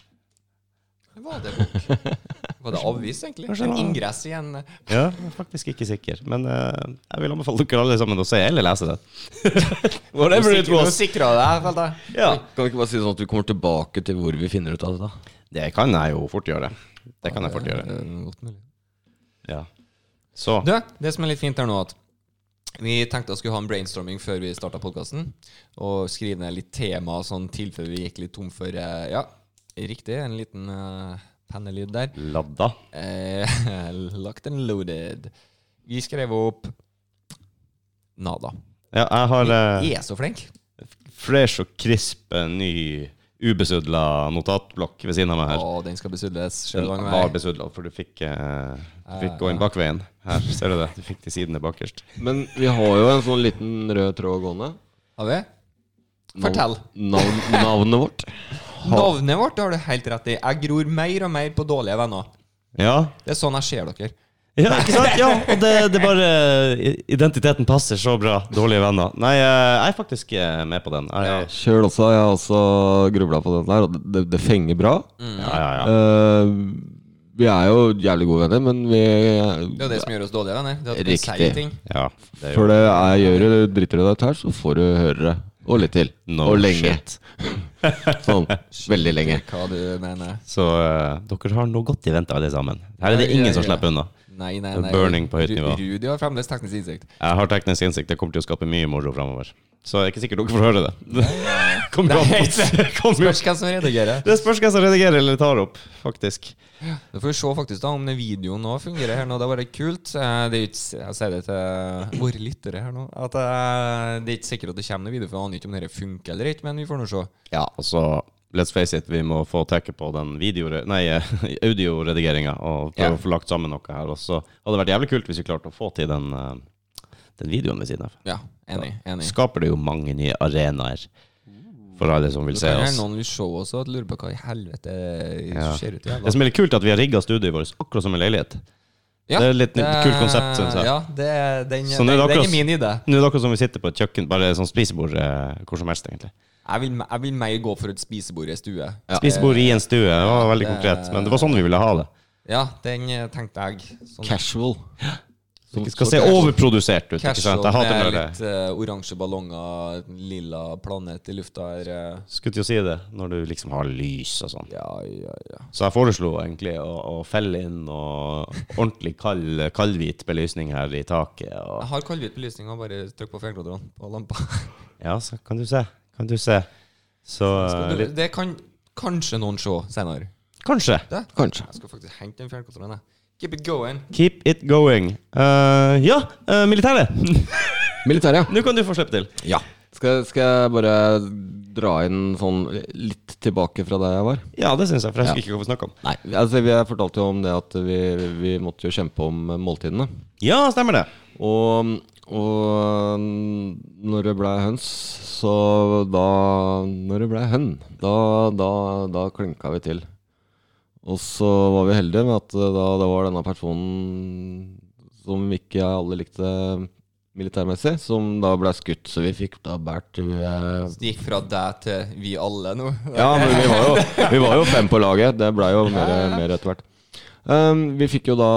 Speaker 2: Var det bok? Var det avvis, egentlig?
Speaker 1: Kanskje det
Speaker 2: En
Speaker 1: var-
Speaker 2: ingress i en eh,
Speaker 1: Ja, jeg er faktisk ikke sikker. Men eh, jeg vil anbefale dere alle sammen å se eller lese det. Whatever it
Speaker 2: Nå
Speaker 1: was.
Speaker 2: sikra deg, følte jeg.
Speaker 1: Ja.
Speaker 3: Kan vi ikke bare si sånn at vi kommer tilbake til hvor vi finner ut av det? da?
Speaker 1: Det kan jeg jo fort gjøre. Det kan jeg fort gjøre.
Speaker 2: Eh, godt mulig.
Speaker 1: Ja. Så
Speaker 2: Du, det som er litt fint her nå, at vi tenkte å skulle ha en brainstorming før vi starta podkasten, og skrive ned litt tema sånn tilfelle vi gikk litt tom for eh, Ja, riktig, en liten eh, pennelyd der.
Speaker 1: ladda.
Speaker 2: Eh, [laughs] locked and loaded. Vi skrev opp Nada.
Speaker 1: Ja, jeg har eh,
Speaker 2: Vi er så flink
Speaker 1: fresh og crisp eh, ny ubesudla notatblokk ved siden av meg
Speaker 2: Å,
Speaker 1: her.
Speaker 2: den skal besudles.
Speaker 1: Den
Speaker 2: Skjønner du hva
Speaker 1: var
Speaker 2: jeg mener?
Speaker 1: besudla, for du fikk, eh, du fikk
Speaker 2: Eh,
Speaker 1: gå inn bakveien. Her, ser du det? Du fikk de sidene bakerst.
Speaker 3: Men vi har jo en sånn liten rød tråd gående.
Speaker 2: Har vi?
Speaker 3: Navn-
Speaker 2: Fortell.
Speaker 3: Navn, [laughs] navnet vårt.
Speaker 2: Navnet vårt har du helt rett i. Jeg gror mer og mer på dårlige venner.
Speaker 1: Ja.
Speaker 2: Det er sånn jeg ser dere.
Speaker 1: ja, ikke sant? Ja, og det, det er bare i- Identiteten passer så bra. Dårlige venner. Nei, eh, jeg er faktisk eh, med på den. Jeg,
Speaker 3: Sjøl også har jeg også grubla på dette her, og det, det fenger bra.
Speaker 1: ja, ja, ja.
Speaker 3: Eh, vi er jo jævlig gode venner, men vi
Speaker 2: Det er jo det som gjør oss dårlige venner. Det er at vi
Speaker 3: Riktig.
Speaker 2: sier ting.
Speaker 1: ja det er jo
Speaker 3: For det jeg gjør, du driter du deg ut her, så får du høre det. Og litt til.
Speaker 1: no
Speaker 3: og lenge.
Speaker 1: shit.
Speaker 3: [laughs] Sånn. Veldig lenge.
Speaker 2: Hva du mener.
Speaker 1: Så eh, dere har noe godt i vente, alle sammen. Her er det
Speaker 2: Ja, ja,
Speaker 1: ingen som
Speaker 2: ja.
Speaker 1: slipper unna.
Speaker 2: Nei, nei,
Speaker 1: Det er
Speaker 2: nei.
Speaker 1: burning på høyt
Speaker 2: Ru-
Speaker 1: nivå.
Speaker 2: Rudi har fremdeles teknisk innsikt.
Speaker 1: Jeg har teknisk innsikt. Det kommer til å skape mye moro framover. Så jeg er ikke sikkert dere får høre det. [laughs] Kommer jo an på- kommer jo-
Speaker 2: Spørs hvem som redigerer.
Speaker 1: Det spørs hvem som redigerer eller tar opp, faktisk.
Speaker 2: Da får vi se faktisk da om den videoen nå fungerer her nå. Det er bare kult. Eh, Det er jo ikke, jeg sier det til våre lyttere her nå, at eh, det er ikke sikkert at det kommer noen video, for jeg aner ikke om dette funker eller ikke, men vi får nå se.
Speaker 1: Ja, og så Let's face it, vi må få taket på den video- nei, [laughs] eh, audioredigeringa og prøve
Speaker 2: Ja.
Speaker 1: å få lagt sammen noe her. Og så hadde det vært jævlig kult hvis vi klarte å få til den, eh, den videoen ved siden av.
Speaker 2: Ja, enig. enig.
Speaker 1: Skaper det jo mange nye arenaer for alle som vil
Speaker 2: Det
Speaker 1: se
Speaker 2: kan
Speaker 1: oss.
Speaker 2: hende noen vil se oss og lurer på hva i helvete
Speaker 1: Ja.
Speaker 2: ser ut i
Speaker 1: Det
Speaker 2: jævla
Speaker 1: som er litt kult, er at vi har rigga studioet vårt akkurat som en leilighet.
Speaker 2: Ja,
Speaker 1: det er litt nytt- kult konsept, synes jeg.
Speaker 2: Ja, det, er- den,
Speaker 1: Så
Speaker 2: den,
Speaker 1: nå er det
Speaker 2: den
Speaker 1: akkurat-
Speaker 2: er min idé.
Speaker 1: Nå er det akkurat som vi sitter på et kjøkken, bare sånn spisebord eh, hvor som helst, egentlig.
Speaker 2: Jeg vil, jeg vil mer gå for et spisebord i en stue.
Speaker 1: Spisebord i en stue, det var veldig
Speaker 2: det-
Speaker 1: konkret. Men det var sånn vi ville ha det.
Speaker 2: Ja, den eh, tenkte jeg. Sånn
Speaker 3: Casual.
Speaker 1: Det skal se overprodusert ut. ikke sant? Jeg hater
Speaker 2: med
Speaker 1: når det
Speaker 2: litt eh, oransje ballonger, lilla planet i lufta her. eh.
Speaker 1: Skulle til å si det, når du liksom har lys og sånn.
Speaker 2: Ja, ja, ja.
Speaker 1: Så jeg foreslo egentlig å, å felle inn og ordentlig kald, kaldhvit belysning her i taket. Og,
Speaker 2: Jeg har kaldhvit belysning og bare trykk på fjernkontrollen på
Speaker 1: [laughs]
Speaker 2: lampa.
Speaker 1: ja, så kan du se. Kan du se. Så eh,
Speaker 2: Skal du- [laughs]
Speaker 1: litt,
Speaker 2: Det kan kanskje noen se senere.
Speaker 1: Kanskje.
Speaker 2: Det?
Speaker 3: Kanskje.
Speaker 2: Jeg skal faktisk hente den fjernkontrollen, jeg. Keep it going.
Speaker 1: Keep it going. Eh, ja, eh, militæret!
Speaker 3: Militæret, ja.
Speaker 1: Nå kan du få slippe til.
Speaker 3: ja. Skal, skal jeg bare dra inn sånn litt tilbake fra der jeg var?
Speaker 1: Ja, det syns jeg, for jeg husker ikke hva vi snakka om.
Speaker 3: Nei. Altså, vi fortalte jo om det at vi, vi måtte jo kjempe om måltidene.
Speaker 1: Ja, stemmer det.
Speaker 3: Og, og når det ble høns, så da Når det ble hønn, da, da, da klinka vi til. Og så var vi heldige med at eh, da det var denne personen som ikke alle likte militærmessig, som da ble skutt. Så vi fikk da båret eh,
Speaker 2: Så Det gikk fra deg til vi alle nå.
Speaker 3: ja, men vi var, jo, vi var jo fem på laget. Det blei jo mer, mer etter hvert. Ehm, vi fikk jo da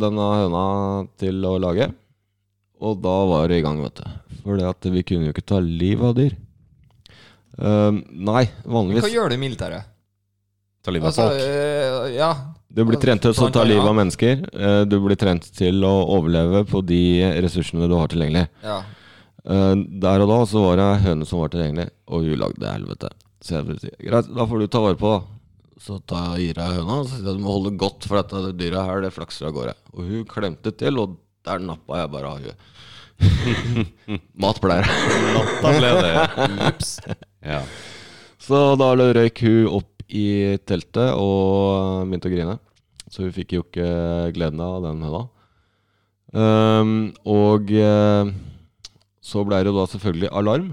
Speaker 3: denne høna til å lage, og da var det i gang, vet du. For at vi kunne jo ikke ta livet av dyr. Ehm, nei,
Speaker 2: Hva
Speaker 3: vanligvis
Speaker 2: gjør du i militæret?
Speaker 1: Ta livet av
Speaker 2: Altså,
Speaker 1: folk.
Speaker 2: eh, ja.
Speaker 3: Du blir trent til å ta livet av mennesker. eh, Du blir trent til å overleve på de ressursene du har tilgjengelig.
Speaker 2: Ja.
Speaker 3: Eh, Der og da så var det høne som var tilgjengelig, og hun lagde helvete. Så jeg bare sier greit, da får du ta vare på, da. Så tar jeg gir jeg høna, og så sier jeg du må holde godt for dette dyret her, det flakser av gårde. Og hun klemte til, og der nappa jeg bare av hun. [laughs] Matpleier.
Speaker 1: Da ble det
Speaker 2: Ups.
Speaker 1: Ja.
Speaker 3: Så da røyk hun opp i teltet og eh, begynte å grine. Så hun fikk jo ikke gleden av den høna. Ehm, og eh, så ble det jo da selvfølgelig alarm.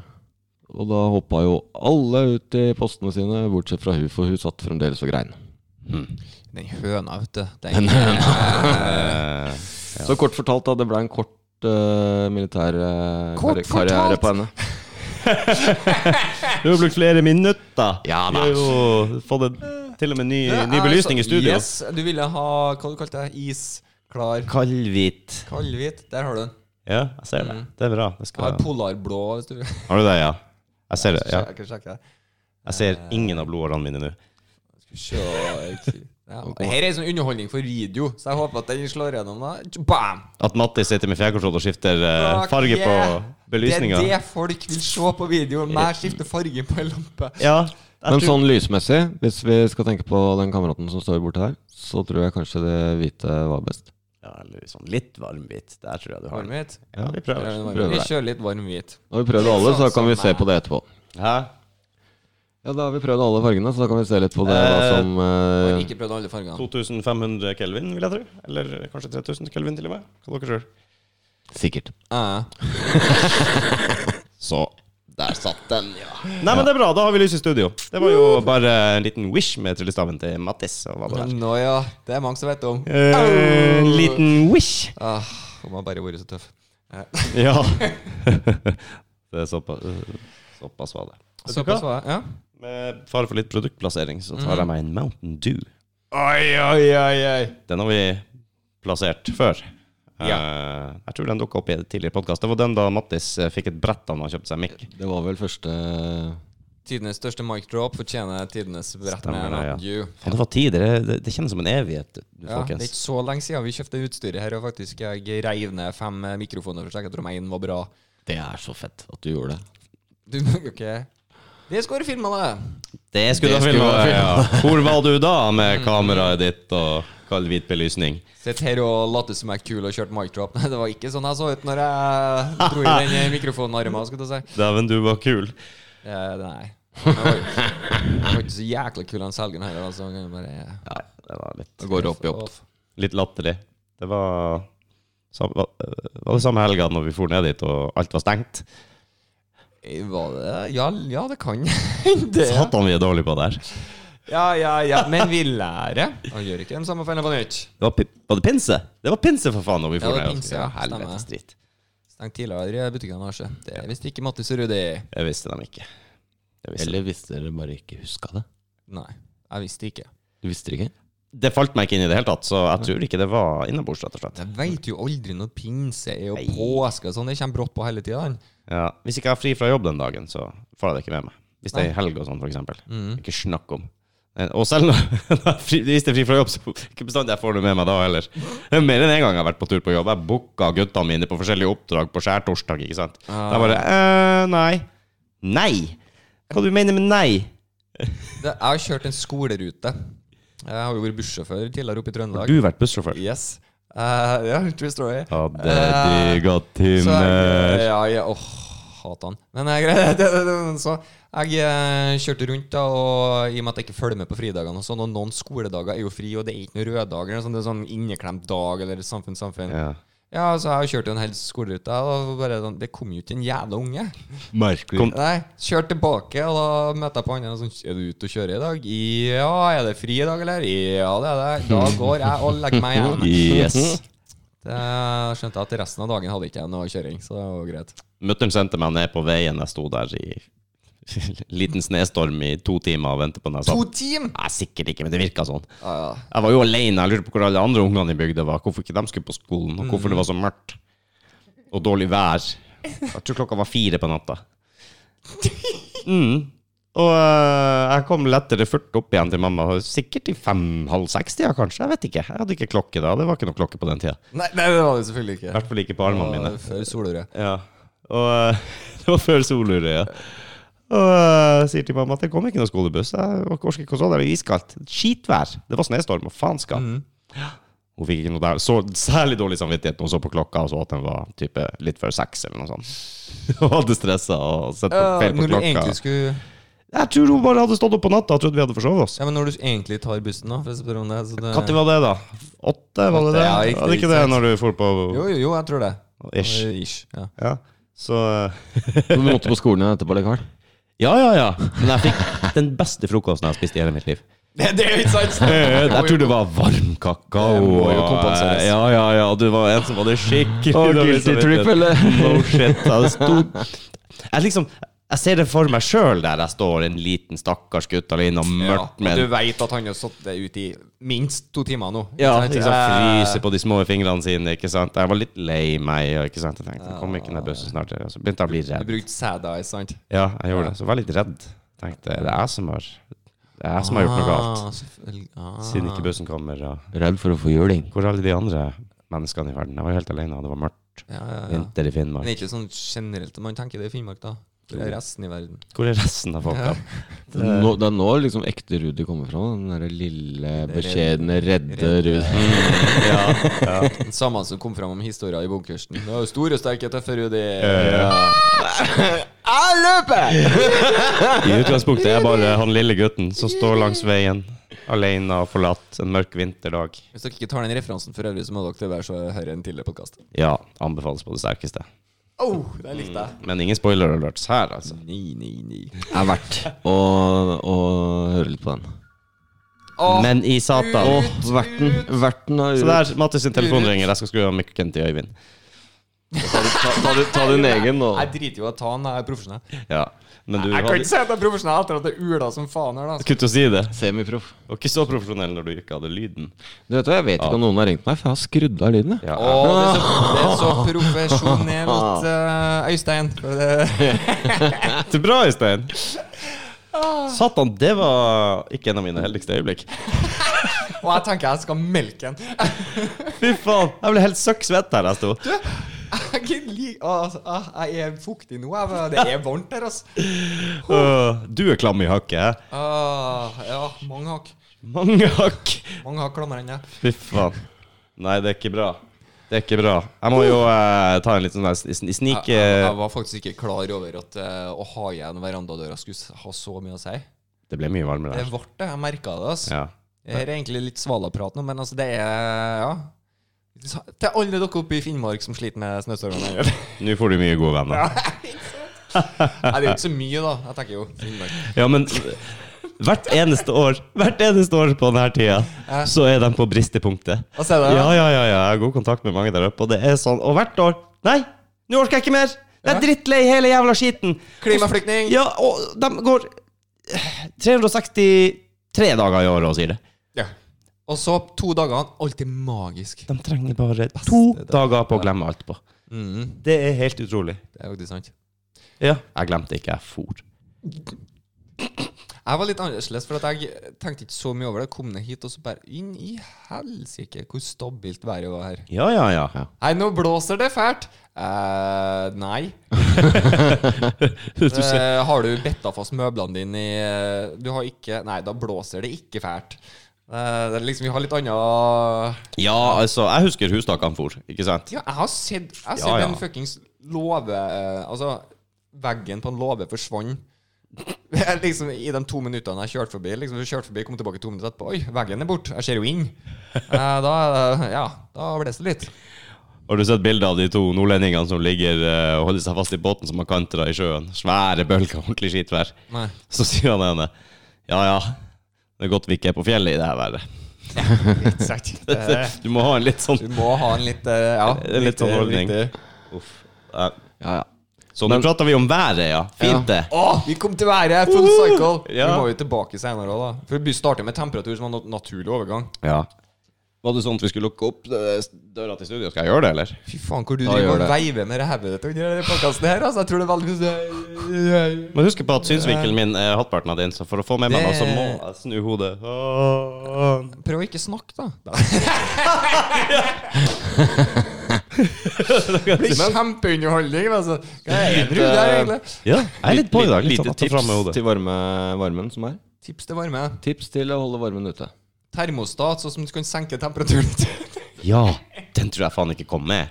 Speaker 3: Og da hoppa jo alle ut i postene sine, bortsett fra hun, for hun satt fremdeles og grein.
Speaker 1: Mm.
Speaker 2: Den høna, vet du.
Speaker 3: Den
Speaker 1: Eh,
Speaker 3: Så kort fortalt, da, det ble en kort eh, militær eh,
Speaker 2: Kort
Speaker 3: karri- karriere
Speaker 2: fortalt!
Speaker 3: på henne.
Speaker 1: Du har brukt flere minutter.
Speaker 3: Ja
Speaker 1: Vi
Speaker 3: da.
Speaker 1: har jo fått en, til og med [laughs] ny, ny belysning i studio.
Speaker 2: Yes, du ville ha Hva du kalte du det? Isklar
Speaker 1: Kaldhvit.
Speaker 2: kaldhvit. Der har du den.
Speaker 1: Ja, jeg ser det. Det er bra. Det
Speaker 2: Jeg Mm. har
Speaker 1: skal...
Speaker 2: polarblå, hvis du vil.
Speaker 1: Har du det, ja? Jeg ser det.
Speaker 2: [laughs]
Speaker 1: Ja.
Speaker 2: Jeg kan sjekke det.
Speaker 1: Jeg ser ingen av blodårene mine nå.
Speaker 2: Skal vi se ja. Det her er sånn underholdning for video, så jeg håper at den slår gjennom. da Bam!
Speaker 1: At Mattis sitter med fjernkontroll og skifter eh,
Speaker 2: Fuck
Speaker 1: farge på
Speaker 2: yeah.
Speaker 1: belysninga.
Speaker 2: Det er det folk vil se på video. Mer skifte farge på en lampe.
Speaker 1: Ja, jeg
Speaker 3: Men
Speaker 1: tror,
Speaker 3: sånn lysmessig, hvis vi skal tenke på den kameraten som står borte her, så tror jeg kanskje det hvite var best.
Speaker 1: ja, eller sånn litt varmbit. Der tror jeg du har den.
Speaker 2: Varmhvit.
Speaker 1: Ja, vi prøver.
Speaker 3: prøver
Speaker 2: Vi
Speaker 3: det.
Speaker 2: kjører litt varm hvit.
Speaker 3: Når vi prøvd alle, så kan vi se på det etterpå.
Speaker 1: Hæ?
Speaker 3: Ja, da har vi prøvd alle fargene, så da kan vi se litt på det da,
Speaker 1: Eh,
Speaker 3: som
Speaker 2: Har
Speaker 3: eh,
Speaker 2: ikke prøvd alle fargene.
Speaker 1: 2500 kelvin, vil jeg tro. Eller kanskje 3000 kelvin, til og med. Hva dere tror.
Speaker 3: Sikkert.
Speaker 2: Ja, ja.
Speaker 1: Så der satt den, ja. Nei, men det er bra. Da har vi lys i studio. Det var jo bare en liten wish med tryllestaven til Mattis. Og hva det der.
Speaker 2: Nå ja, det er mange som vet om.
Speaker 1: Eh, En liten wish.
Speaker 2: Ah, om jeg bare har vært så tøff. Eh,
Speaker 1: Ja. [laughs] det er såpass, såpass var det. Vet du hva?
Speaker 2: Såpass var det. Ja.
Speaker 1: Med fare for litt produktplassering, så tar jeg meg en Mountain Dew.
Speaker 2: Oi, oi, oi, oi.
Speaker 1: Den har vi plassert før. Eh, jeg tror den dukka opp i en tidligere podkast. Det var den da Mattis eh, fikk et brett da han kjøpte seg mikk.
Speaker 3: Det var vel første
Speaker 2: Tidenes største mic drop fortjener tidenes brett
Speaker 1: Stemmer
Speaker 2: med
Speaker 1: det, ja.
Speaker 2: Mountain Dew.
Speaker 1: Faen, det var tid. Det, det, det kjennes som en evighet, du,
Speaker 2: Ja, det er
Speaker 1: folkens.
Speaker 2: ikke så lenge siden vi kjøpte utstyret her, og faktisk jeg reiv ned fem eh, mikrofoner for å sjekke at om én var bra.
Speaker 3: Det er så fett at du gjorde det.
Speaker 2: Du, ok. Det skal være filma, det.
Speaker 1: Det skulle du ha
Speaker 3: Det skulle
Speaker 1: filma.
Speaker 3: du ha Mm.
Speaker 1: Ja. Hvor var du da med kameraet ditt og kald hvit belysning?
Speaker 2: Sitt her og late som jeg er kul og kjørte mic drop. [laughs] Nei, det var ikke sånn jeg så ut når jeg dro i
Speaker 3: [laughs]
Speaker 2: den mikrofonarmen, skal du si.
Speaker 1: Dæven, du var kul.
Speaker 2: Eh, nei. Jeg var jeg var ikke så jækla kul han selgeren heller, altså. Han kan jo bare
Speaker 1: Ja, det var litt,
Speaker 3: Da går det opp i opp.
Speaker 2: Off.
Speaker 1: litt latterlig. Det var, sam, var, var det samme helga når vi for ned dit og alt var stengt.
Speaker 2: Eh, Var det Ja, ja det kan [laughs] hende.
Speaker 1: Satan, vi er dårlige på det her.
Speaker 2: Ja, ja, ja. Men vi lærer. Han gjør ikke den samme feilen på nytt.
Speaker 1: Det var, pi- var det pinse? Det var pinse, for faen! Når
Speaker 2: Ja,
Speaker 1: vi for
Speaker 2: det var
Speaker 1: ned.
Speaker 2: pinse,
Speaker 1: ja,
Speaker 2: ja.
Speaker 1: helvetes
Speaker 2: Stemmer.
Speaker 1: dritt.
Speaker 2: Stengt tidligere i butikken Lars. Det er visst ikke Mattis og Rudi.
Speaker 1: Det visste de ikke. Det, visste de.
Speaker 3: Eller visste dere bare ikke huska det?
Speaker 2: Nei, jeg visste ikke.
Speaker 3: Du visste det [laughs] ikke?
Speaker 1: det falt meg ikke inn i det hele tatt, så jeg tror ikke det var innabords, rett og slett.
Speaker 2: Jeg veit jo aldri når pinse er og påske og sånn. Det kommer brått på hele tida.
Speaker 1: Ja. Hvis ikke jeg har fri fra jobb den dagen, så får jeg det ikke med meg. Hvis det er i helg og sånn, for eksempel.
Speaker 2: Mm.
Speaker 1: Ikke snakk om. Eh, Og selv når [laughs] når jeg er fri- hvis det er fri fra jobb, så ikke bestandig jeg får det med meg da heller. Det er Mer enn én gang jeg har vært på tur på jobb. Jeg booka guttene mine på forskjellige oppdrag på skjærtorsdag, ikke sant. Da bare eh, Nei. Nei! Hva du mener med nei?
Speaker 2: Jeg har kjørt en skolerute. Jeg har jo vært bussjåfør tidligere oppe i
Speaker 1: Har
Speaker 2: Trøndelag.
Speaker 1: du vært bussjåfør?
Speaker 2: Yes. Eh, ja, true story.
Speaker 1: Hadde
Speaker 2: Eh,
Speaker 1: digga
Speaker 2: Så jeg,
Speaker 1: timer.
Speaker 2: ja, ja, åh, hat han. Men jeg, [laughs] det, det, det, det- så jeg eh, kjørte rundt, da, og i og med at jeg ikke følger med på fridagene og sånn, og noen skoledager er jo fri, og det er ikke noen røde dager, eller sånn, det er sånn inneklemt dag eller samfunn, samfunn. Ja,
Speaker 1: Ja.
Speaker 2: så jeg har jo kjørt en hel skolerute, og bare sånn, det kom jo ikke en jævla unge.
Speaker 3: Merkelig.
Speaker 2: Nei, kjørte tilbake, og da møtte jeg på andre og sånn, er du ute og kjører i dag? Ja, er det fri i dag, eller? Ja, det er det. Da går jeg og legger meg igjen.
Speaker 1: [laughs] Yes.
Speaker 2: Det skjønte jeg at resten av dagen hadde ikke jeg noe kjøring, så det var jo greit.
Speaker 1: Mutter'n sendte meg ned på veien. Jeg sto der i [laughs] liten snestorm i to timer og ventet på den. Jeg sa
Speaker 2: To team!
Speaker 1: Nei, sikkert ikke, men det virka sånn.
Speaker 2: Ja, ja.
Speaker 1: Jeg var jo alene. Jeg lurte på hvor alle andre ungene i bygda var. Hvorfor ikke de skulle på skolen, og hvorfor det var så mørkt. Og dårlig vær. Jeg tror klokka var fire på natta. Mm. Og eh, jeg kom lettere furt opp igjen til mamma, sikkert i fem-halv seks-tida kanskje. Jeg vet ikke. Jeg hadde ikke klokke da. Det var ikke noe klokke på den tida.
Speaker 2: Nei, nei, det var det selvfølgelig
Speaker 1: I
Speaker 2: ikke.
Speaker 1: hvert fall ikke på armene mine.
Speaker 2: Det var Før soløret.
Speaker 1: Ja. Og eh, [laughs] det var før soluret, ja. Og eh, sier til mamma at det kom ikke noen skolebuss. Jeg orker ikke å stå der, det er iskaldt. Skitvær. Det var snøstorm og faenskap.
Speaker 2: Mm.
Speaker 1: Hun fikk ikke noe der. Så særlig dårlig samvittighet når hun så på klokka og så at den var type litt før seks eller noe sånt. [laughs] Hun hadde stressa og sett på,
Speaker 2: Ja,
Speaker 1: feil på
Speaker 2: når du
Speaker 1: klokka.
Speaker 2: egentlig skulle
Speaker 1: Jeg tror hun bare hadde stått opp på natta og trodd vi hadde forsovet oss.
Speaker 2: Ja, men når du egentlig tar bussen, da, for å spørre om det, så det
Speaker 1: Når var det, da? Åtte, var det
Speaker 2: Åtte,
Speaker 1: det?
Speaker 2: ja, riktig,
Speaker 1: var det ikke det
Speaker 2: riktig.
Speaker 1: når du for på
Speaker 2: Jo, jo, jo, jeg tror det.
Speaker 1: Ish.
Speaker 2: Eh, Ish. Ja. [laughs]
Speaker 1: Ja. Så eh,
Speaker 3: Men du måtte på skolen igjen etterpå likevel?
Speaker 1: Ja, ja, ja. Men jeg fikk den beste frokosten jeg har spist i hele mitt liv.
Speaker 2: Det, det er jo ikke sant!
Speaker 1: Jeg tror [laughs] det var varm kakao.
Speaker 2: Det må jo
Speaker 1: og, eh,
Speaker 2: kompenseres.
Speaker 1: Ja, ja, ja. Du var en som hadde skikkelig
Speaker 3: Og
Speaker 1: dårlig
Speaker 3: guilty
Speaker 1: samvittighet.
Speaker 3: trip, eller?
Speaker 1: No shit. Jeg, sto, jeg liksom Jeg ser det for meg sjøl der jeg står, en liten stakkars gutt alene og mørkt
Speaker 2: Ja,
Speaker 1: med
Speaker 2: du veit at han har sittet ute i minst to timer nå.
Speaker 1: ja,
Speaker 2: Ikke sant?
Speaker 1: liksom
Speaker 2: Eh,
Speaker 1: fryser på de små fingrene sine. ikke sant? Jeg var litt lei meg. og ikke sant? Jeg tenkte, kommer ikke den der bussen snart? Og så begynte jeg å bli
Speaker 2: Du
Speaker 1: redd.
Speaker 2: brukte sad eyes, sant?
Speaker 1: Ja, jeg gjorde det. Så jeg var litt redd. Tenkte, det er jeg som har, det er jeg som har gjort noe galt.
Speaker 2: Ah, selvfølgelig. Ah.
Speaker 1: Siden ikke bussen kommer. Og
Speaker 3: Redd for å få juling.
Speaker 1: hvor er alle de andre menneskene i verden? Jeg var helt alene, og det var mørkt.
Speaker 2: Ja, ja, ja.
Speaker 1: Vinter i
Speaker 2: Men
Speaker 1: Finnmark.
Speaker 2: ikke sånn generelt man tenker det i Finnmark, da. Hvor er resten i verden?
Speaker 1: Hvor er resten av folka?
Speaker 3: Nå, det er nå liksom ekte Rudi kommer fra. Den derre lille, beskjedne, redde [laughs] Rudi.
Speaker 2: Den samme som kom fram om historien i bokkursen. Det var jo Stor og sterk tøffe Rudi. [laughs] Jeg løper!
Speaker 1: I utgangspunktet er jeg bare han lille gutten som står langs veien, alene og forlatt en mørk vinterdag.
Speaker 2: Hvis dere ikke tar den referansen for øvrig, så må dere være så høre en tidligere podkast.
Speaker 1: Ja, anbefales på det sterkeste.
Speaker 2: Oh, det likte jeg.
Speaker 1: Men ingen spoiler alerts her, altså.
Speaker 2: Nei, nei, nei.
Speaker 3: Det er verdt å, å høre litt på den.
Speaker 2: Å,
Speaker 1: Men i satan.
Speaker 2: Ut,
Speaker 3: Verten,
Speaker 2: ut.
Speaker 3: verten av
Speaker 1: Så
Speaker 3: Rudi.
Speaker 1: der, Mattis sin telefon ringer. Jeg skal skru av mikken til Øyvind.
Speaker 3: Ta, ta, ta, din- ta din egen nå.
Speaker 2: Jeg driter jo i å ta den, jeg er profesjonell.
Speaker 1: Ja. Men du
Speaker 2: Jeg kan ikke
Speaker 1: hadde
Speaker 2: si at jeg er profesjonell etter at det er ula som faen her, da.
Speaker 1: Kutt å si det.
Speaker 3: Semiproff.
Speaker 1: Du var ikke så profesjonell når du ikke hadde lyden.
Speaker 3: Du vet hva, Jeg vet ikke om noen har ringt meg, for jeg har skrudd av lyden. jeg.
Speaker 1: Ja,
Speaker 2: Å, det er så, det er så [laughs] profesjonelt, eh, Øystein. For det,
Speaker 1: Det er bra, Øystein. Satan, det var ikke en av mine heldigste øyeblikk.
Speaker 2: og jeg tenker jeg skal melke den.
Speaker 1: Fy faen, jeg ble helt søkksvett her jeg sto.
Speaker 2: Jeg, kan ikke li- Å, altså, ah, jeg er fuktig nå. Jeg, men det er varmt her, altså.
Speaker 1: Åh, du er klam i hakket. hæ?
Speaker 2: Ah, ja, mange hakk.
Speaker 1: Mange hakk.
Speaker 2: Mange hakk klammer ennå.
Speaker 1: Fy faen. Nei, det er ikke bra. Det er ikke bra. Jeg må jo eh, ta en liten sånn snik...
Speaker 2: Jeg, jeg, jeg
Speaker 1: eh,
Speaker 2: var faktisk ikke klar over at eh, å ha igjen verandadøra skulle s- ha så mye å si.
Speaker 1: Det ble mye varmere
Speaker 2: Det
Speaker 1: der.
Speaker 2: ble det. Jeg merka det. altså.
Speaker 1: Ja.
Speaker 2: Det her er egentlig litt svalaprat nå, men altså, det er Ja. Til alle dere oppe i Finnmark som sliter med snøstormene.
Speaker 1: Nå får du mye gode venner.
Speaker 2: Nei, det er jo ikke så mye, da. Jeg tenker jo Finnmark.
Speaker 1: Ja, men hvert eneste år, hvert eneste år på denne tida, så er de på bristepunktet.
Speaker 2: Hva sier du?
Speaker 1: Ja, ja, ja, ja. Jeg har god kontakt med mange der oppe, og det er sånn. Og hvert år Nei, nå orker jeg ikke mer! Jeg er drittlei hele jævla skiten.
Speaker 2: Klimaflyktning!
Speaker 1: Ja, og de går 363 dager i året og sier det.
Speaker 2: Ja. Og så to dagene. Alltid magisk.
Speaker 1: De trenger bare to dager på å glemme alt på.
Speaker 2: Mm,
Speaker 1: Det er helt utrolig.
Speaker 2: det er faktisk sant.
Speaker 1: Ja. Jeg glemte ikke, jeg for.
Speaker 2: Jeg var litt annerledes, for at jeg tenkte ikke så mye over det. Kom ned hit, og så bare Inn i helsike, hvor stabilt været var her.
Speaker 1: Ja, ja, ja.
Speaker 2: Nei, nå blåser det fælt! eh, nei.
Speaker 1: Du ser.
Speaker 2: Eh, har du betta fast møblene dine i eh, Du har ikke Nei, da blåser det ikke fælt. Eh, det er liksom, vi har litt anna
Speaker 1: ja, altså, jeg husker hustakene for, ikke sant?
Speaker 2: Ja, jeg har sett, jeg har
Speaker 1: Ja,
Speaker 2: sett
Speaker 1: ja.
Speaker 2: en fuckings låve eh, Altså, veggen på en låve forsvant. [laughs] liksom I de to minuttene jeg kjørte forbi. Liksom Du kjørte forbi, kom tilbake to minutter etterpå. Oi, veggen er borte. Jeg ser jo inn. Eh, da eh, Ja, da blåser det litt.
Speaker 1: Har du sett bilder av de to nordlendingene som ligger eh, og holder seg fast i båten som har kantret i sjøen? Svære bølger, ordentlig skitvær.
Speaker 2: Nei.
Speaker 1: Så sier han ene Ja, ja, det er godt vi ikke er på fjellet i det her været.
Speaker 2: Ikke
Speaker 1: [laughs]
Speaker 2: sant. Eh,
Speaker 1: Du må ha en litt sånn
Speaker 2: Du må ha en litt eh, Ja,
Speaker 1: Det er litt sånn holdning.
Speaker 2: riktig.
Speaker 1: Uff. Ja.
Speaker 3: Ja, ja.
Speaker 1: Så nå prater vi om været, ja. Fint, det.
Speaker 2: Å, vi kom til været! Full cycle!
Speaker 1: Ja.
Speaker 2: Vi må jo tilbake senere òg, da. For Vi starter med temperatur som er en nat- naturlig overgang.
Speaker 1: Ja. Var det sånn at vi skulle lukke opp eh, døra til studio? Skal jeg gjøre det, eller?
Speaker 2: Fy faen, hvor du
Speaker 3: Ja,
Speaker 2: driver
Speaker 3: gjør
Speaker 2: og
Speaker 3: det.
Speaker 2: veiver med det hodet ditt under denne podkasten her, altså. Jeg tror det er veldig sånn-
Speaker 1: Men husk på at synsvinkelen min er halvparten av din, så for å få med meg noe, så må jeg snu hodet. Åh.
Speaker 2: Prøv å ikke snakke, da. det blir kjempeunderholdning. Altså. Hva er det du der, egentlig?
Speaker 1: Ja, jeg er litt på i dag. Litt sånn
Speaker 3: Lite
Speaker 1: at jeg tar frem med
Speaker 3: tips
Speaker 1: hodet.
Speaker 3: til varme, varmen som er.
Speaker 2: Tips til varme.
Speaker 3: Tips til å holde varmen ute.
Speaker 2: Termostat, sånn som du kan senke temperaturen litt.
Speaker 1: Ja, den tror jeg faen ikke kom med.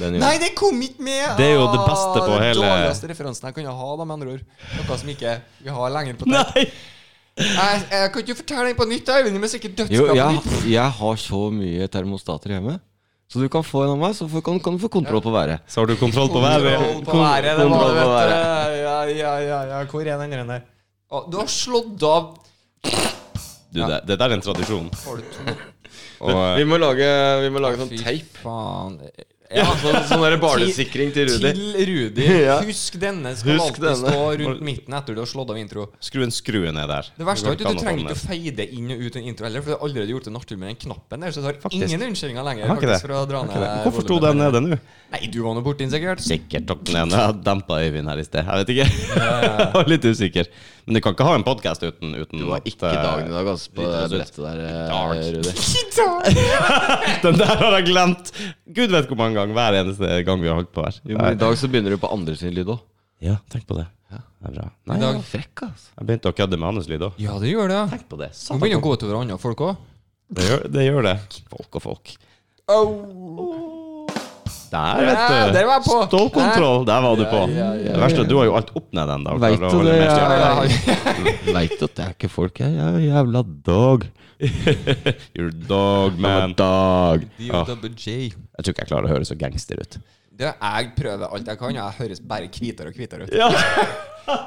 Speaker 3: Den gjør
Speaker 2: Nei, det kom ikke med!
Speaker 1: Det er jo det beste
Speaker 2: Ah,
Speaker 1: på
Speaker 2: den
Speaker 1: hele-
Speaker 2: dårligste referansen jeg kunne ha, da, med andre ord. Noe som ikke vi har lenger på tape.
Speaker 1: Nei!
Speaker 2: Jeg, jeg kan ikke fortelle den på nytt, Eivind. men sikkert
Speaker 3: Jo,
Speaker 2: dødsbra på nytt.
Speaker 3: jeg, jeg har så mye termostater hjemme. Så du kan få en av meg, så får- kan, kan du få kontroll på været.
Speaker 1: Så har du kontroll på
Speaker 2: Kontroll
Speaker 1: været.
Speaker 2: på været, det var
Speaker 3: Kontroll
Speaker 2: det,
Speaker 3: på
Speaker 2: vet du. Ja, ja, ja, ja. Hvor er den andre der? Å, Du har slått av
Speaker 1: Du, det, det der er en tradisjon.
Speaker 2: Har du to
Speaker 1: eh,
Speaker 3: Vi må lage, vi må lage
Speaker 2: Fy faen. Ja,
Speaker 3: Sånn, sånn der barnesikring til Rudi.
Speaker 2: til
Speaker 1: [laughs]
Speaker 2: Rudi.
Speaker 3: Ja.
Speaker 2: Husk denne skal
Speaker 3: Husk
Speaker 2: alltid
Speaker 3: denne.
Speaker 2: stå rundt midten etter du har slått av intro.
Speaker 1: Skru en skrue ned der.
Speaker 2: Det verste er at
Speaker 1: Går
Speaker 2: du
Speaker 1: ikke an å
Speaker 2: trenger ikke å
Speaker 1: komme
Speaker 2: feide inn og ut en intro heller, for du har allerede gjort en artig med den knappen der, så du har
Speaker 1: Faktisk.
Speaker 2: ingen unnskyldninger lenger.
Speaker 1: Jeg har ikke
Speaker 2: faktisk,
Speaker 1: det.
Speaker 2: for å dra
Speaker 1: ned.
Speaker 2: ned
Speaker 1: Hvorfor sto
Speaker 2: volumet.
Speaker 1: den nede nå?
Speaker 2: Nei, du var nå borti den,
Speaker 1: [laughs]
Speaker 2: sikkert.
Speaker 1: Sikkert tok den ene. Jeg dempa Øyvind her i sted. Jeg vet ikke. [laughs] Jeg var litt usikker. Men du kan ikke ha en podkast uten, uten
Speaker 3: Det var ikke
Speaker 1: at, eh,
Speaker 3: dagen i dag, altså, på det
Speaker 1: Driter oss ut.
Speaker 3: brettet der, eh,
Speaker 1: Dag.
Speaker 3: Rudi.
Speaker 1: [laughs] Den der har jeg glemt! Gud vet hvor mange ganger. Hver eneste gang vi har holdt på her.
Speaker 3: Jo, men I dag så begynner du på andre sin lyd òg.
Speaker 1: Ja, tenk på det. Det er bra. Nei,
Speaker 2: I dag-
Speaker 3: Frekk, altså.
Speaker 1: jeg begynte å kødde med hans lyd òg.
Speaker 2: Ja, det gjør det.
Speaker 1: Tenk på det.
Speaker 2: Nå
Speaker 1: Satan.
Speaker 2: begynner det å gå utover andre folk òg.
Speaker 1: Det gjør, det gjør det. Folk og folk. Der, vet du.
Speaker 2: Ja, der var jeg på.
Speaker 1: Stålkontroll. Der var du på. Det verste er at du har jo alt opp ned den. da, for
Speaker 3: Vet
Speaker 1: å
Speaker 3: du
Speaker 1: holde
Speaker 3: det,
Speaker 1: mer
Speaker 3: jeg-
Speaker 1: stjerne.
Speaker 2: [laughs]
Speaker 3: Ja, Veit at det er ikke folk her. Jeg er en jævla dog.
Speaker 1: You're a dog, man.
Speaker 3: Dog.
Speaker 1: Ah.
Speaker 2: DOWJ.
Speaker 1: Jeg tror ikke jeg klarer å høre så gangster ut.
Speaker 2: Du, jeg prøver alt jeg kan, og jeg høres bare hvitere og hvitere ut.
Speaker 1: Ja, [laughs]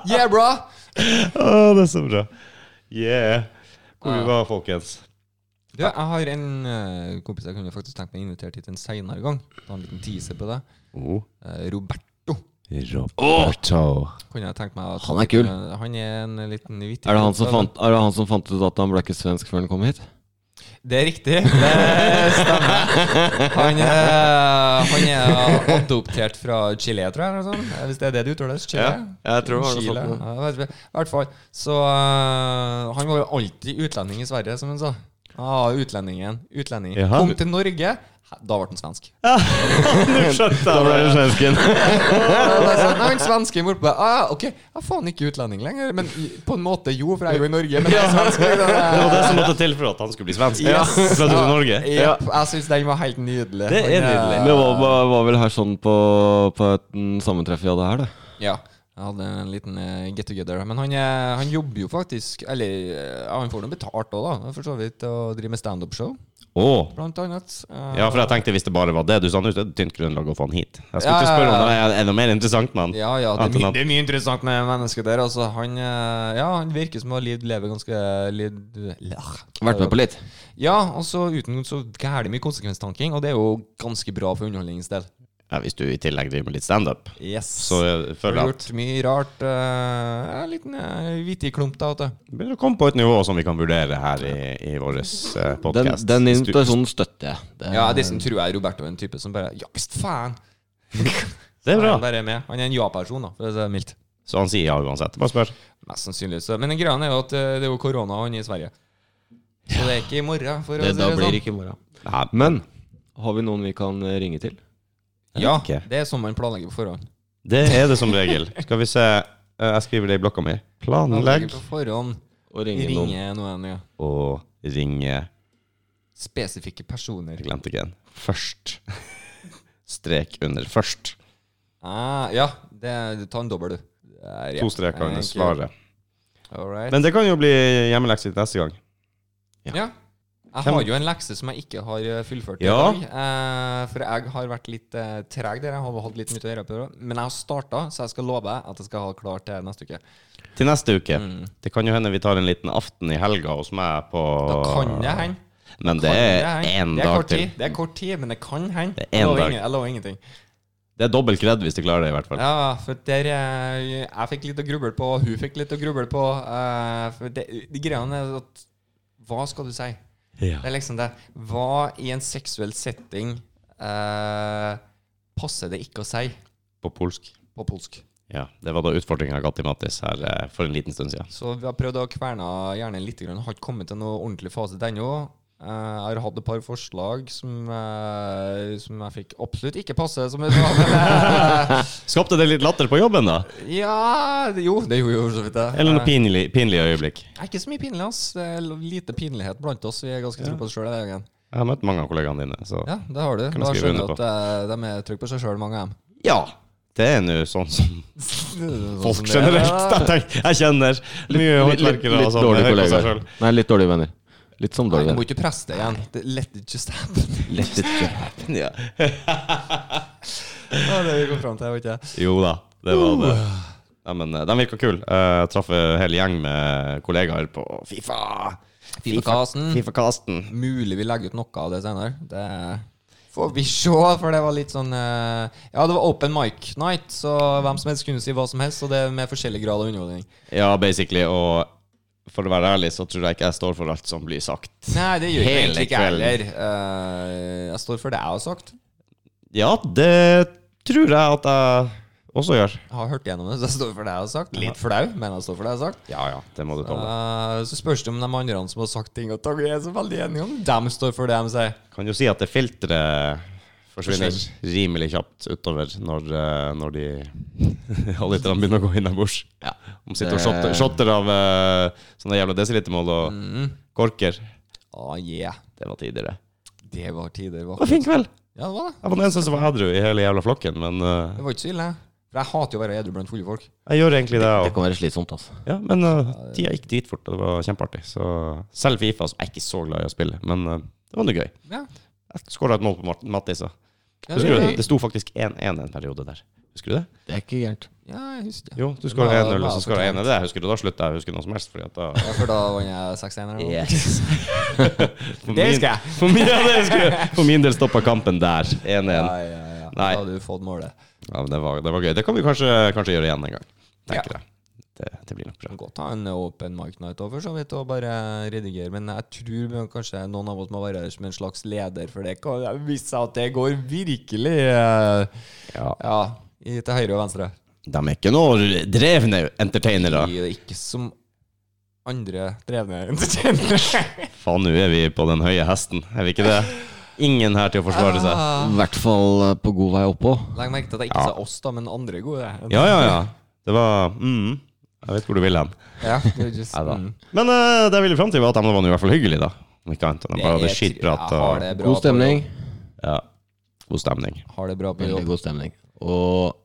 Speaker 2: Yeah, bra!
Speaker 1: Å, det er så bra. Yeah. Hvor vi var, folkens.
Speaker 2: Du, jeg har en eh, kompis jeg kunne faktisk tenkt meg å invitere hit en senere gang. Ta en liten teaser på det.
Speaker 1: Oh.
Speaker 2: Eh, Roberto
Speaker 1: Roberto.
Speaker 2: kunne jeg tenkt meg at
Speaker 3: Han er kul.
Speaker 2: Eh, han er en liten vittig
Speaker 3: Er det, han som
Speaker 2: gutt, da.
Speaker 3: fant, er det han som fant ut at han ble ikke svensk før han kom hit?
Speaker 2: Det er riktig. Det stemmer. Han er, han er adoptert fra Chile, tror jeg. Eller sånn. Eh, Hvis det er det du uttaler? Chile?
Speaker 3: Ja, jeg tror det var noe
Speaker 2: Chile.
Speaker 3: sånt,
Speaker 2: Ja, jeg vet ikke. I hvert fall. Så eh, han var jo alltid utlending i Sverige, som han sa. Ah, utlendingen. Utlending.
Speaker 1: Jaha.
Speaker 2: Kom til Norge. Da ble han svensk.
Speaker 1: [laughs] Nå
Speaker 2: sånn.
Speaker 1: skjønte jeg det.
Speaker 3: svensken.
Speaker 2: Nei, så- sånn, nei, men svensken bortpå der. Ah, ok, jeg er faen ikke utlending lenger. Men i- på en måte jo, for jeg er jo i Norge. Men jeg er svensk. liksom. Det
Speaker 1: Det var
Speaker 2: er-
Speaker 1: det som måtte til for at han skulle bli svensk.
Speaker 2: Ja.
Speaker 1: Fra du til Norge.
Speaker 2: Jepp, Jeg syns den var helt nydelig.
Speaker 1: Det
Speaker 2: Han, eh,
Speaker 1: er nydelig.
Speaker 3: Men det var, var- var vel her sånn på, på et mm, sammentreff vi hadde her, det.
Speaker 2: Ja. Jeg hadde en liten eh, get together. Men han, eh, han jobber jo faktisk Eller eh, ja, han får nå betalt òg, da. For så vidt. Og driver med standup-show,
Speaker 1: Åh.
Speaker 2: blant annet. Eh,
Speaker 1: Ja, for jeg tenkte hvis det bare var det du sa nå, så er det tynt grunnlag å få han hit. Jeg skulle
Speaker 2: Ja, ja,
Speaker 1: ikke spørre om det
Speaker 2: ja.
Speaker 1: er- er noe mer interessant med han.
Speaker 2: ja, ja, det,
Speaker 1: Annet
Speaker 2: er
Speaker 1: enn
Speaker 2: mye,
Speaker 1: at-
Speaker 2: det er mye interessant med mennesket der. Altså, han, eh, ja, han virker som å ha levd lever ganske liv,
Speaker 3: Vært med på litt.
Speaker 2: Ja, og så uten så gæli mye konsekvenstanking, og det er jo ganske bra for underholdningens del.
Speaker 1: Ja, hvis du i tillegg driver med litt standup,
Speaker 2: Yes.
Speaker 1: så eh,
Speaker 2: har
Speaker 1: føler jeg at
Speaker 2: gjort mye rart. eh, ja, en liten eh, vittig klump, da. Vet du.
Speaker 1: det begynner å komme på et nivå som vi kan vurdere her i, i vår uh,
Speaker 3: Den,
Speaker 1: podkast.
Speaker 3: den invitasjonen støtter jeg. Det,
Speaker 2: Ja, dessuten tror jeg Roberto er en type som bare Ja visst, faen!
Speaker 1: Det er
Speaker 2: Han
Speaker 1: bra.
Speaker 2: bare er med. Han er en ja-person, da, for å si det mildt.
Speaker 1: Så han sier ja uansett. Bare spør.
Speaker 2: Mest sannsynlig. Så. Men greia er jo at eh, det er jo korona og han er i Sverige. Så det er ikke i morgen, for å si
Speaker 3: det, da
Speaker 2: det
Speaker 3: blir
Speaker 2: sånn.
Speaker 3: det ikke moro.
Speaker 1: Nei,
Speaker 3: Men har vi noen vi kan eh, ringe til?
Speaker 2: Ja,
Speaker 1: ikke.
Speaker 2: det er sånn man planlegger på forhånd.
Speaker 1: det er det som regel. Skal vi se. eh, Jeg skriver det i blokka mi.
Speaker 2: Planlegger
Speaker 1: Planlegg
Speaker 2: på forhånd.
Speaker 3: Og ringe noen
Speaker 2: Ringe noen ja.
Speaker 1: og ringe
Speaker 2: spesifikke personer.
Speaker 1: Jeg glemte ikke en. Først. [laughs] Strek under først.
Speaker 2: Ah, ja, det, ta en dobbel, du. Der, ja.
Speaker 1: To streker under
Speaker 2: Enkelt.
Speaker 1: svaret.
Speaker 2: All right.
Speaker 1: Men det kan jo bli hjemmelekse til neste gang.
Speaker 2: ja. Jeg
Speaker 1: Hvem-
Speaker 2: har jo en lekse som jeg ikke har eh, fullført. i
Speaker 1: Ja.
Speaker 2: dag, eh, for jeg har vært litt eh, treg der. Jeg har hatt litt mye å gjøre på det. Men jeg har starta, så jeg skal love deg at jeg skal ha klart til neste uke.
Speaker 1: Til neste uke.
Speaker 2: Mm.
Speaker 1: Det kan jo hende vi tar en liten aften i helga hos meg på
Speaker 2: Da kan det hende.
Speaker 1: Men det
Speaker 2: Kan
Speaker 1: er
Speaker 2: hende.
Speaker 1: én
Speaker 2: det er
Speaker 1: dag
Speaker 2: kort
Speaker 1: til.
Speaker 2: Tid. Det er kort tid, men det kan hende.
Speaker 1: Det er
Speaker 2: Jeg
Speaker 1: en
Speaker 2: lover
Speaker 1: dag.
Speaker 2: ingen- Jeg lover ingenting.
Speaker 1: Det er dobbelt kred hvis de klarer det, i hvert fall.
Speaker 2: Ja, for der eh, Jeg fikk litt å gruble på, og hun fikk litt å gruble på. eh, For det, de greiene er at Hva skal du si?
Speaker 1: Ja.
Speaker 2: Det er liksom det. Hva i en seksuell setting eh, passer det ikke å si
Speaker 1: På polsk.
Speaker 2: på polsk?
Speaker 1: Ja, Det var da utfordringa jeg ga til Mattis her eh, for en liten stund siden.
Speaker 2: Så vi har prøvd å kverne hjernen litt. Grann. Har ikke kommet til noe ordentlig fasit ennå. Eh, Jeg har hatt et par forslag som, eh, som jeg fikk absolutt ikke passe. Som jeg sa, men, eh, [laughs]
Speaker 1: Skapte det litt latter på jobben, da?
Speaker 2: ja det- Jo, det gjorde jo for så vidt det.
Speaker 1: Eller noe
Speaker 2: Eh,
Speaker 1: pinlig, pinlig øyeblikk?
Speaker 2: Det er ikke så mye pinlig, ass. Det er lite pinlighet blant oss. Vi er ganske tro på oss sjøl.
Speaker 1: Jeg har møtt mange av kollegaene dine, så
Speaker 2: Ja, det har du.
Speaker 1: Kan jeg
Speaker 2: Da
Speaker 1: skrive
Speaker 2: skjønner du
Speaker 1: under
Speaker 2: at eh, de er trygge på seg sjøl, mange av
Speaker 1: [laughs]
Speaker 2: dem.
Speaker 1: Ja! Det er nå sånn som
Speaker 2: Sånn som
Speaker 1: folk
Speaker 2: det er.
Speaker 1: generelt. Jeg, tenker, jeg kjenner mye håndverkere og
Speaker 3: litt
Speaker 1: sånn.
Speaker 3: dårlige
Speaker 1: jeg hører på seg
Speaker 3: kollegaer.
Speaker 1: selv.
Speaker 3: Nei, litt dårlige venner. Litt som
Speaker 2: Nei,
Speaker 3: dårlige
Speaker 2: Du må
Speaker 3: venner.
Speaker 2: ikke presse det igjen. Det let it just happen. [laughs]
Speaker 3: Lett ikke.
Speaker 1: Ja. [laughs]
Speaker 2: Det er det vi kom fram til, vet ikke jeg.
Speaker 1: Jo da, det var det. Nei, men eh, de virka kule. Jeg traff en hel gjeng med kollegaer på Fifa.
Speaker 2: Fifa-kasen.
Speaker 1: Fifa-kasten.
Speaker 2: Mulig vi legger ut noe av det senere. Det får vi [laughs] se, for det var litt sånn eh, Ja, det var open mic night, så hvem som helst kunne si hva som helst, og det er med forskjellig grad av underholdning.
Speaker 1: Ja, basically. Og for å være ærlig, så tror jeg ikke jeg står for alt som blir sagt.
Speaker 2: Nei, det gjør jeg
Speaker 1: Hele
Speaker 2: egentlig ikke jeg heller. Eh, jeg står for det jeg har sagt.
Speaker 1: Ja, det tror jeg at jeg også gjør.
Speaker 2: Jeg har hørt gjennom det, så jeg står for det jeg har sagt. Litt flau, men jeg står for det jeg har sagt.
Speaker 1: Ja, ja, det må du tåle.
Speaker 2: Eh, så spørs det om de andre som har sagt ting og tang, er så veldig enige om. Dem står for det de sier.
Speaker 1: Kan jo si at det filteret forsvinner rimelig kjapt utover når, eh, når de [laughs] halvliterne begynner å gå innabords. Ja. De sitter og shotter, shotter av eh, sånne jævla desilitermål og korker.
Speaker 2: Ah, yeah.
Speaker 1: Det var tidligere.
Speaker 2: Det var tider,
Speaker 1: Det
Speaker 2: hva?
Speaker 1: var fin kveld.
Speaker 2: Ja, det var det.
Speaker 1: Jeg var den eneste som var edru i hele jævla flokken, men eh,
Speaker 2: Det var ikke så ille. For jeg hater jo å være edru blant fulle folk.
Speaker 1: jeg gjør egentlig det.
Speaker 3: Det
Speaker 1: Og,
Speaker 3: kan være slitsomt, altså.
Speaker 1: ja, men eh, tida gikk dritfort, og det var kjempeartig. Så selv Fifa, som jeg er ikke så glad i å spille, men eh, det var nå gøy.
Speaker 2: Ja.
Speaker 1: Jeg skåra et mål på Mart- Mattis. da.
Speaker 2: Ja,
Speaker 1: Husker du
Speaker 2: det-
Speaker 1: det? Det sto faktisk 1-1 en periode der. Husker du det?
Speaker 3: Det er ikke gærent.
Speaker 2: Ja, jeg husker det.
Speaker 1: Jo, du
Speaker 2: var-
Speaker 1: skåra 1-0, og
Speaker 2: var
Speaker 1: så skåra
Speaker 2: fortjent.
Speaker 1: 1-1. Det husker du, da slutter jeg å huske noe som helst. Fordi at da
Speaker 2: Ja, for da vant jeg 6-1 eller noe.
Speaker 1: [laughs] for
Speaker 2: Det
Speaker 1: min-
Speaker 2: husker jeg.
Speaker 1: For min, ja, det husker jeg. For min del stoppa kampen der. 1-1.
Speaker 2: Ja,
Speaker 1: Ja,
Speaker 2: ja, ja. Da
Speaker 1: Nei.
Speaker 2: hadde du fått målet.
Speaker 1: men det, var- det var gøy. Det kan vi kanskje, kanskje gjøre igjen en gang. Tenker jeg. Det, det blir nok bra.
Speaker 2: Kan godt ha en open mic night over, så vidt, og bare redigere. Men jeg tror vi- kanskje noen av oss må være her som en slags leder, for det kan vise seg at det går virkelig eh,
Speaker 1: Ja.
Speaker 2: Ja, i, til høyre og venstre.
Speaker 1: De er ikke noe drevne entertainere.
Speaker 2: I, ikke som andre drevne [laughs] entertainere.
Speaker 1: Faen, nå er vi på den høye hesten, er vi ikke det? Ingen her til å
Speaker 2: Ah.
Speaker 1: forsvare seg.
Speaker 3: I hvert fall eh, på god vei oppå.
Speaker 2: Legg merke til at jeg ikke sa oss, da, men andre gode.
Speaker 1: Ja, ja, ja. Det var mm, Jeg vet hvor du vil hen.
Speaker 2: Ja, det er just,
Speaker 1: [laughs] Neida.
Speaker 2: mm.
Speaker 1: Men eh, det jeg ville fram til, var at de var nå i hvert fall hyggelige, da. Om ikke annet. De bare
Speaker 2: Det
Speaker 1: hadde
Speaker 2: er-
Speaker 1: skitprat
Speaker 2: jeg har
Speaker 1: og
Speaker 2: det bra
Speaker 3: God
Speaker 2: på
Speaker 3: stemning.
Speaker 1: ja, god stemning.
Speaker 2: jobb. Har det bra på
Speaker 3: Veldig
Speaker 2: jobb.
Speaker 3: god stemning. Og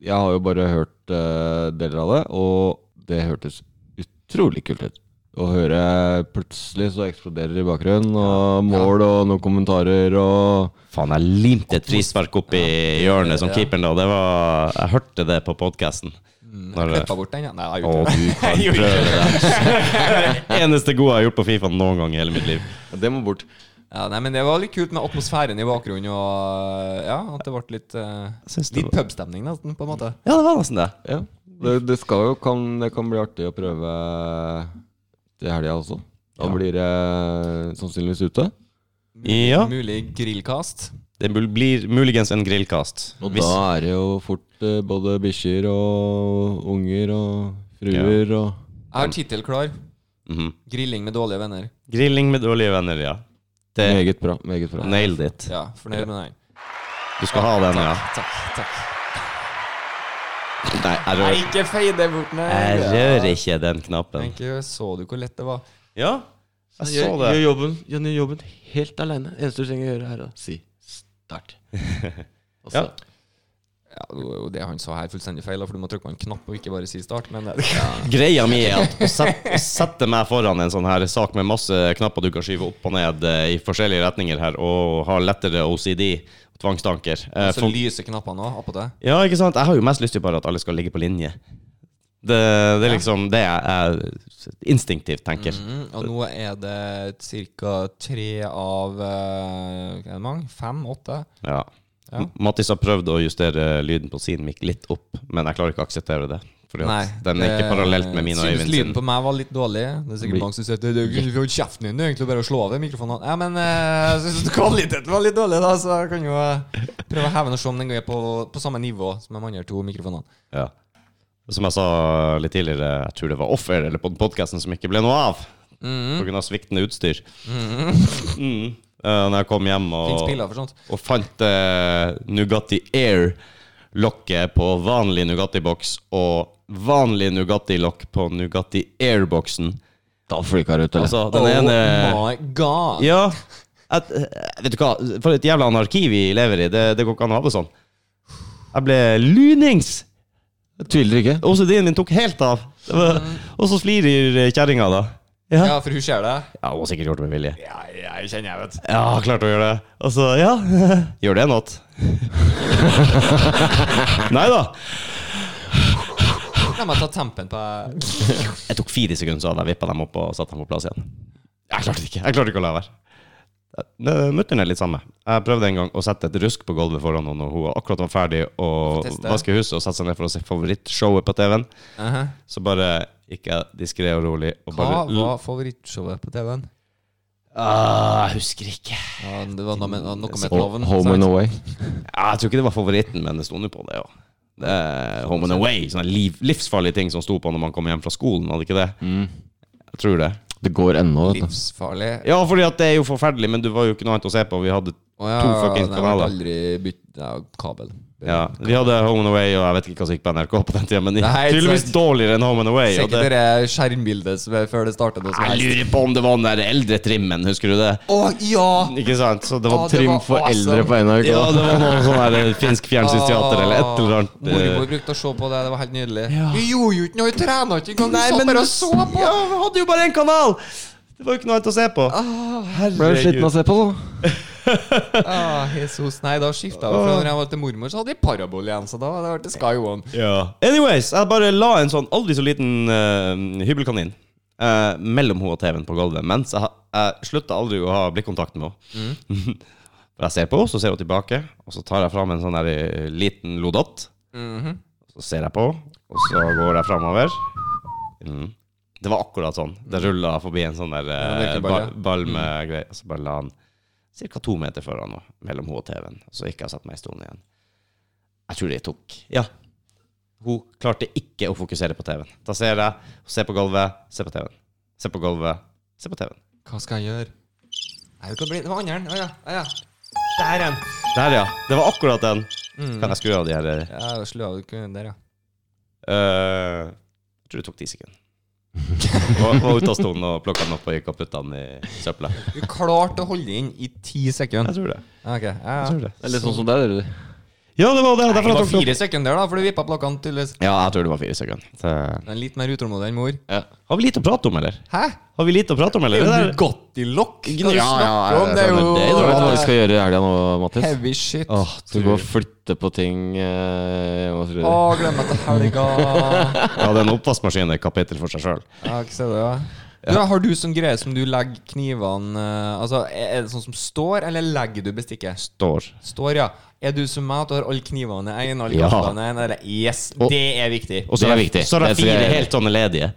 Speaker 3: jeg har jo bare hørt eh, deler av det, og det hørtes utrolig kult ut. Å høre plutselig så eksploderer det i bakgrunnen, og mål og noen kommentarer og
Speaker 1: Faen, jeg limte et frispark opp i hjørnet som
Speaker 2: Ja.
Speaker 1: keeperen, da. Det var Jeg hørte det på podkasten.
Speaker 2: Jeg klippa bort den, ja. Nei, jeg
Speaker 1: Å,
Speaker 2: gjorde ikke det.
Speaker 1: du kan prøve det. Det [laughs] eneste gode jeg har gjort på Fifa noen gang i hele mitt liv.
Speaker 3: Det må bort.
Speaker 2: Ja, nei, men det var litt kult med atmosfæren i bakgrunnen, og ja, at det ble litt eh,
Speaker 1: Syns det
Speaker 2: Litt pubstemning, nesten, på en måte.
Speaker 1: Ja, det var nesten det.
Speaker 3: Ja. Det, det skal jo kan, Det kan bli artig å prøve til helga også. Da blir det sannsynligvis ute.
Speaker 2: Mulig,
Speaker 1: Ja.
Speaker 2: mulig grillkast.
Speaker 1: Det mul- blir muligens en grillkast.
Speaker 3: Og
Speaker 1: Hvis,
Speaker 3: da er det jo fort eh, både bikkjer og unger og fruer og
Speaker 2: Jeg har tittel klar.
Speaker 1: Mhm.
Speaker 2: Grilling med dårlige venner.
Speaker 1: Grilling med dårlige venner, ja. Det
Speaker 3: Meget bra. Meget bra.
Speaker 1: Nailed it.
Speaker 2: Ja, fornøyd med den.
Speaker 1: Du skal ha den, ja.
Speaker 2: Takk, takk.
Speaker 1: Nei, jeg
Speaker 2: Nei,
Speaker 1: rører,
Speaker 2: ikke fei det bort, nei.
Speaker 1: jeg rører ikke den knappen.
Speaker 2: Tenk, så du hvor lett det var?
Speaker 1: Ja, jeg så
Speaker 3: gjør,
Speaker 1: det.
Speaker 3: Gjør jobben, gjør jobben helt aleine. Eneste du trenger å gjøre, er å si [laughs] start. Og så-
Speaker 1: Ja.
Speaker 2: Ja, det var jo det han sa her, fullstendig feil, da, for du må trykke på en knapp og ikke bare si start, men eh,
Speaker 1: Greia mi er at å sette, å sette meg foran en sånn her sak med masse knapper du kan skyve opp og ned eh, i forskjellige retninger her, og har lettere OCD, tvangstanker eh,
Speaker 2: Så
Speaker 1: for,
Speaker 2: lyser knappene òg, attpåtil.
Speaker 1: Ja, ikke sant? Jeg har jo mest lyst til bare at alle skal ligge på linje. Det, det er liksom det jeg, jeg instinktivt tenker.
Speaker 2: Mm, og nå er det ca. tre av eh, Hva er det mange? Fem? Åtte?
Speaker 1: Ja.
Speaker 2: Ja.
Speaker 1: Mattis har prøvd å justere lyden på sin mic litt opp, men jeg klarer ikke å akseptere det. For den er ikke
Speaker 2: det-
Speaker 1: parallelt med min og
Speaker 2: synes
Speaker 1: Øyvind
Speaker 2: Lyden
Speaker 1: sin.
Speaker 2: på meg var litt dårlig. Det er sikkert mange som sier at du kunne fått kjeften din, det er egentlig bare å slå over mikrofonen. Ja, men eh, jeg synes kvaliteten var litt dårlig, da, så jeg kan jo eh, prøve å heve den og se om den er på, på samme nivå som de andre to mikrofonene.
Speaker 1: Ja. Som jeg sa litt tidligere, jeg tror det var offer eller på podkasten som ikke ble noe av
Speaker 2: Mm
Speaker 1: pga. sviktende utstyr. [laughs] Mm. Eh, når jeg kom hjem
Speaker 2: Fins
Speaker 1: og,
Speaker 2: piller for sånt.
Speaker 1: og fant eh, Nugatti Air-lokket på vanlig Nugatti-boks og vanlig Nugatti-lokk på Nugatti Air-boksen
Speaker 3: Da flika det ut, eller?
Speaker 1: Altså, den ene
Speaker 2: Oh my god!
Speaker 1: Ja. Et, vet du hva, for et jævla anarki vi lever i. Det, det går ikke an å ha det sånn. Jeg ble lunings!
Speaker 3: Jeg tviler ikke.
Speaker 1: OCD-en min tok helt av. Det var,
Speaker 2: Mm.
Speaker 1: og så flirer kjerringa, da. Ja.
Speaker 2: Ja, for hun ser det?
Speaker 1: ja, hun har sikkert gjort det med vilje.
Speaker 2: Ja, jeg kjenner jeg, vet du.
Speaker 1: Ja, klart å gjøre det. Og så, ja [laughs] Gjør det noe? Nei da.
Speaker 2: La meg ta tempen på deg.
Speaker 1: Jeg tok fire sekunder, så hadde jeg vippa dem opp og satt dem på plass igjen. Jeg klarte det ikke. Jeg klarte ikke å la være. Det- Mutter'n er litt samme. Jeg prøvde en gang å sette et rusk på gulvet foran henne når hun akkurat var ferdig
Speaker 2: Få
Speaker 1: å
Speaker 2: teste.
Speaker 1: vaske huset og sette seg ned for å se favorittshowet på TV-en. Så bare gikk jeg diskré og rolig og
Speaker 2: Hva
Speaker 1: bare
Speaker 2: var favorittshowet på TV-en?
Speaker 1: Ah, Jeg husker ikke.
Speaker 2: Ja, det var noe med, noe med
Speaker 3: Og
Speaker 2: loven.
Speaker 3: Home and away.
Speaker 1: Ja, jeg tror ikke det var favoritten, men det sto nå på det òg. Home and away. Sånne liv, livsfarlige ting som sto på når man kom hjem fra skolen, hadde ikke det? Jeg tror det.
Speaker 3: Mm. Det går ennå, vet du.
Speaker 2: Livsfarlig.
Speaker 1: Ja, fordi at det er jo forferdelig, men du var jo ikke noe annet å se på. Vi hadde
Speaker 2: Å ja,
Speaker 1: To fucking
Speaker 2: nei, jeg
Speaker 1: kanaler.
Speaker 2: har aldri bytt ja, kabel.
Speaker 1: ja, vi hadde Home and Away, og jeg vet ikke hva som gikk på NRK på den tida, men
Speaker 2: Nei, ikke
Speaker 1: tydeligvis
Speaker 2: sant.
Speaker 1: dårligere enn Home and Away. Og
Speaker 2: Sikkert
Speaker 1: det,
Speaker 2: det skjermbildet som er før det startet. noe som
Speaker 1: jeg
Speaker 2: helst.
Speaker 1: lurer på om det var den der eldre trimmen, husker du det?
Speaker 2: Å ja!
Speaker 1: Ikke sant? Så
Speaker 2: Å,
Speaker 1: det var
Speaker 2: det
Speaker 1: trim
Speaker 2: var
Speaker 1: for
Speaker 2: awesome.
Speaker 1: eldre.
Speaker 3: Eldre på NRK.
Speaker 1: Ja, det var noe sånn der finsk fjernsynsteater eller et eller annet. eh,
Speaker 2: Mormor brukte å se på det, det var helt nydelig. Vi gjorde jo ikke noe, vi trena ikke engang!
Speaker 1: Nei,
Speaker 2: Vi satt
Speaker 1: men
Speaker 2: bare og
Speaker 1: [laughs]
Speaker 2: så på!
Speaker 1: Ja, vi hadde jo bare én kanal! Det var jo ikke noe annet å se på.
Speaker 3: Ble du sliten av å se på, da?
Speaker 2: Ah, Jesus, nei, da skiftet jeg fra når jeg var til mormor, så hadde jeg parabol igjen. Så da hadde jeg vært til Sky One.
Speaker 1: Ja. Anyways, jeg bare la en sånn aldri så liten eh, hybelkanin eh, mellom hun og TV-en på gulvet, mens jeg, ha- jeg slutta aldri å ha blikkontakt med henne.
Speaker 2: Mm.
Speaker 1: [laughs] For jeg ser på henne, så ser hun tilbake, og så tar jeg fram en sånn der, eh, liten lodott.
Speaker 2: Mhm.
Speaker 1: Så ser jeg på, og så går jeg framover. Mm. Det var akkurat sånn. Det rulla forbi en sånn der
Speaker 2: Mm. Ja,
Speaker 1: eh,
Speaker 2: det er ikke
Speaker 1: ball,
Speaker 2: bare- Mm.
Speaker 1: ball med greier. Så bare la han ca. to meter foran henne, mellom henne og TV-en. Så gikk jeg og satte meg i stolen igjen. Jeg tror det tok Ja. Hun klarte ikke å fokusere på TV-en. Da ser jeg, ser på gulvet, ser på TV-en. Ser på gulvet, ser på TV-en.
Speaker 2: Hva skal jeg gjøre? Nei, det kan bli Det var andre. Å ja. Å ja. Der er den.
Speaker 1: Der, ja. Det var akkurat den. Kan jeg skru av de her eh,
Speaker 2: Mm. Ja, jeg slo av ikke der, ja.
Speaker 1: eh, Jeg tror det tok ti sekunder. Var var ute av stolen og plukka den opp og gikk og putta den i søpla.
Speaker 2: Du klarte å holde inn i ti sekunder.
Speaker 1: Jeg tror det.
Speaker 2: Ok, ja, ja.
Speaker 1: Jeg tror det.
Speaker 3: Det er litt sånn som deg, dere.
Speaker 1: Ja, det var det.
Speaker 2: Nei,
Speaker 1: Derfor
Speaker 2: det
Speaker 1: jeg
Speaker 2: var
Speaker 1: tok det opp.
Speaker 2: fire sekunder, da, for du vippa plakkene tydeligvis.
Speaker 1: Ja, jeg tror det var fire sekunder. Så.
Speaker 2: Den er litt mer utålmodig enn mor.
Speaker 3: Ja.
Speaker 1: Har vi lite å prate om, eller?
Speaker 2: Hæ?
Speaker 1: Har vi lite å prate om, eller?
Speaker 2: Det er
Speaker 1: Det
Speaker 2: jo
Speaker 3: [laughs]
Speaker 1: der-
Speaker 2: Nugatti-lokk! Hva du snakker
Speaker 1: Ja, ja,
Speaker 2: om? Det er
Speaker 1: ja, ja,
Speaker 2: jo
Speaker 1: men det er jo
Speaker 3: Hva er det
Speaker 2: det
Speaker 3: vi
Speaker 2: er
Speaker 3: skal gjøre i helga nå, Mattis?
Speaker 2: heavy shit. Å,
Speaker 3: Åh, du går og flytter på ting eh, og så videre.
Speaker 2: glem meg til helga.
Speaker 1: Ja, den oppvaskmaskinen er et kapittel for seg sjøl.
Speaker 2: Ja, ikke se det, ja. Du, har du sånn greie som du legger knivene eh, Altså, Er det sånn som står, eller legger du bestikket?
Speaker 1: Står.
Speaker 2: Står, ja. Er du som meg, at du har alle knivene i én, alle
Speaker 1: Ja.
Speaker 2: gaffene i én? eller- Yes,
Speaker 1: Og-
Speaker 2: det er viktig.
Speaker 1: Og så
Speaker 3: Det er
Speaker 1: har jeg-
Speaker 3: viktig.
Speaker 1: Så har jeg
Speaker 3: Det tror jeg Hm?
Speaker 1: fire
Speaker 3: er-
Speaker 1: helt sånne ledige.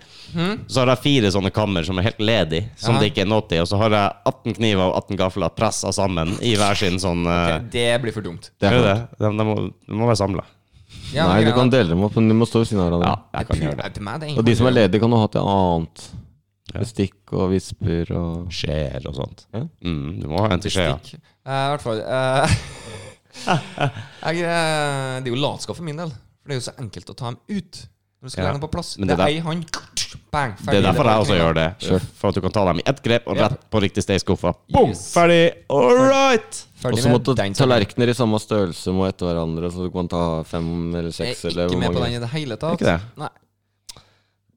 Speaker 1: Så har jeg fire sånne kammer som er helt ledige, som
Speaker 2: Ja.
Speaker 1: det ikke er noe til. Og så har jeg 18 kniver og 18 gafler pressa sammen i hver sin sånn eh,
Speaker 2: Det blir for dumt.
Speaker 3: Det er
Speaker 1: Gjør
Speaker 3: sant.
Speaker 1: det? De, de, må, de må være samla.
Speaker 2: Ja,
Speaker 3: Nei,
Speaker 2: men
Speaker 3: du
Speaker 2: greia
Speaker 3: kan
Speaker 2: er at-
Speaker 3: dele dem opp, men de må stå ved siden av hverandre.
Speaker 1: Ja, jeg kan gjøre det.
Speaker 2: Til meg, det er
Speaker 3: Og de som er
Speaker 2: ingen-
Speaker 3: ledige, kan jo ha til annet. Bestikk og visper og
Speaker 1: Skjeer og sånt.
Speaker 3: Ja.
Speaker 1: Mm, du må ha en til skjea.
Speaker 2: Stikk. Eh, [laughs] I hvert fall. eh, jeg, eh, det er jo latskap for min del. For det er jo så enkelt å ta dem ut. Når du skal
Speaker 1: Ja.
Speaker 2: legge dem på plass.
Speaker 1: Men
Speaker 2: det
Speaker 1: det
Speaker 2: er
Speaker 1: der-
Speaker 2: ei hånd. Bang, ferdig.
Speaker 1: Det er derfor jeg også gjør det.
Speaker 3: Sure.
Speaker 1: For at du kan ta dem i ett grep og
Speaker 2: Ja.
Speaker 1: rett på riktig sted i skuffa. Boom!
Speaker 2: Yes.
Speaker 1: Ferdig! All right!
Speaker 2: Ferdig
Speaker 3: Og så
Speaker 2: med
Speaker 3: måtte
Speaker 2: den
Speaker 3: tallerkener i samme størrelse må etter hverandre, så du kan ta fem eller
Speaker 2: saken. Jeg
Speaker 3: seks
Speaker 2: er
Speaker 3: eller
Speaker 2: ikke
Speaker 3: hvor
Speaker 2: med på den
Speaker 3: mange.
Speaker 2: i det hele
Speaker 1: Er
Speaker 2: tatt.
Speaker 1: Ikke det?
Speaker 2: Nei.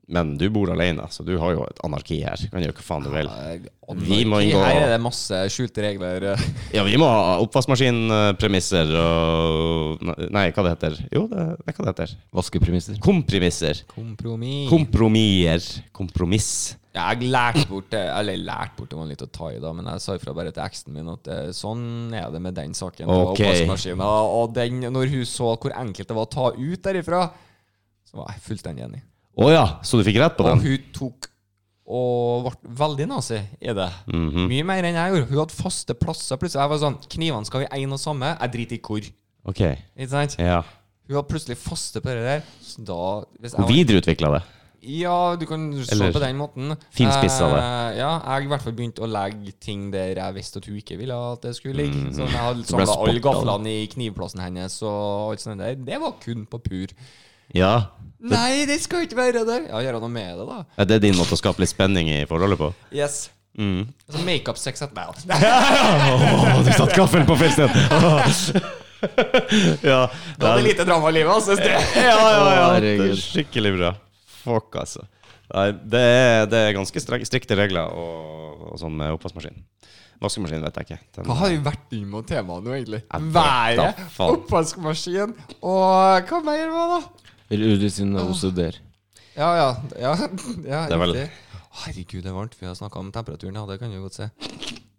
Speaker 1: Men du bor alene, så du har jo et anarki her. Du kan gjøre hva faen du vil.
Speaker 2: Eh,
Speaker 1: Vi må inngå-
Speaker 2: Her er det masse skjulte regler.
Speaker 1: Ja, vi må ha oppvaskmaskinpremisser og Nei, hva det heter Jo, det er hva det heter.
Speaker 3: Vaskepremisser.
Speaker 1: Kompremisser.
Speaker 2: Kompromiss.
Speaker 1: Kompromisser. Kompromiss.
Speaker 2: Ja, jeg lærte bort det Eller lærte bort det var litt å ta i, da, men jeg sa ifra bare til eksen min at eh, sånn er det med den saken.
Speaker 1: Ok.
Speaker 2: Og oppvaskmaskinen. Og den, når hun så hvor enkelt det var å ta ut derifra, Så var jeg fullstendig enig.
Speaker 1: Å ja, så du fikk rett på
Speaker 2: Og
Speaker 1: den?
Speaker 2: hun tok og ble veldig nazi i det.
Speaker 1: Mhm.
Speaker 2: Mye mer enn jeg gjorde. Hun hadde faste plasser. Plutselig jeg var sånn Knivene skal i én og samme. Jeg driter i hvor.
Speaker 1: Ok,
Speaker 2: Ikke sant?
Speaker 1: ja.
Speaker 2: Hun var plutselig faste på det der. Så da hvis
Speaker 1: Hun
Speaker 2: var-
Speaker 1: videreutvikla det.
Speaker 2: Ja, du kan se
Speaker 1: Eller
Speaker 2: på den måten.
Speaker 1: finspissa det.
Speaker 2: Eh, ja, jeg i hvert fall begynte å legge ting der jeg visste at hun ikke ville at det skulle ligge. Så jeg hadde
Speaker 1: Mm. Du ble
Speaker 2: samla alle
Speaker 1: spotta, da.
Speaker 2: gaflene i knivplassen hennes og alt sånt der. Det var kun på pur.
Speaker 1: Ja.
Speaker 2: Nei, det skal ikke være det! Ja, gjøre noe med det, da.
Speaker 1: Er det din måte å skape litt spenning i forholdet på?
Speaker 2: Yes.
Speaker 1: Mm.
Speaker 2: Altså, Makeup-sex
Speaker 1: [laughs]
Speaker 2: at Nei, da.
Speaker 1: Åh, du satte gaffelen på feil sted! [laughs] ja,
Speaker 2: Da hadde
Speaker 1: det
Speaker 2: lite drama i livet,
Speaker 1: [laughs]
Speaker 2: altså. Det.
Speaker 1: ja, ja, ja.
Speaker 3: Å,
Speaker 1: Det
Speaker 3: herregud.
Speaker 1: er skikkelig bra. Fuck, altså. Nei, det er, det er ganske streng, strikte regler og, og sånn med oppvaskmaskin. Vaskemaskin vet jeg ikke. Den,
Speaker 2: Hva har vi vært inn mot temaet nå, egentlig?
Speaker 1: Jeg vet da
Speaker 2: Været,
Speaker 1: faen.
Speaker 2: oppvaskmaskin og Hva mer var det?
Speaker 3: Rudi eh, sin OCD-er.
Speaker 2: Ja, ja. ja, [laughs] ja
Speaker 1: Det er vel-
Speaker 2: riktig. Herregud, det er varmt. Vi har snakka om temperaturen. Ja, det kan du godt se.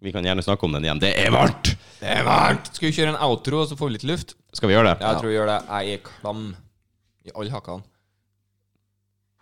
Speaker 1: vi kan gjerne snakke om den igjen. Det er varmt!
Speaker 2: Det er varmt! Skal vi kjøre en outro, så får vi litt luft?
Speaker 1: Skal vi gjøre det?
Speaker 2: Jeg tror vi gjør det. Jeg er klam i alle hakkene.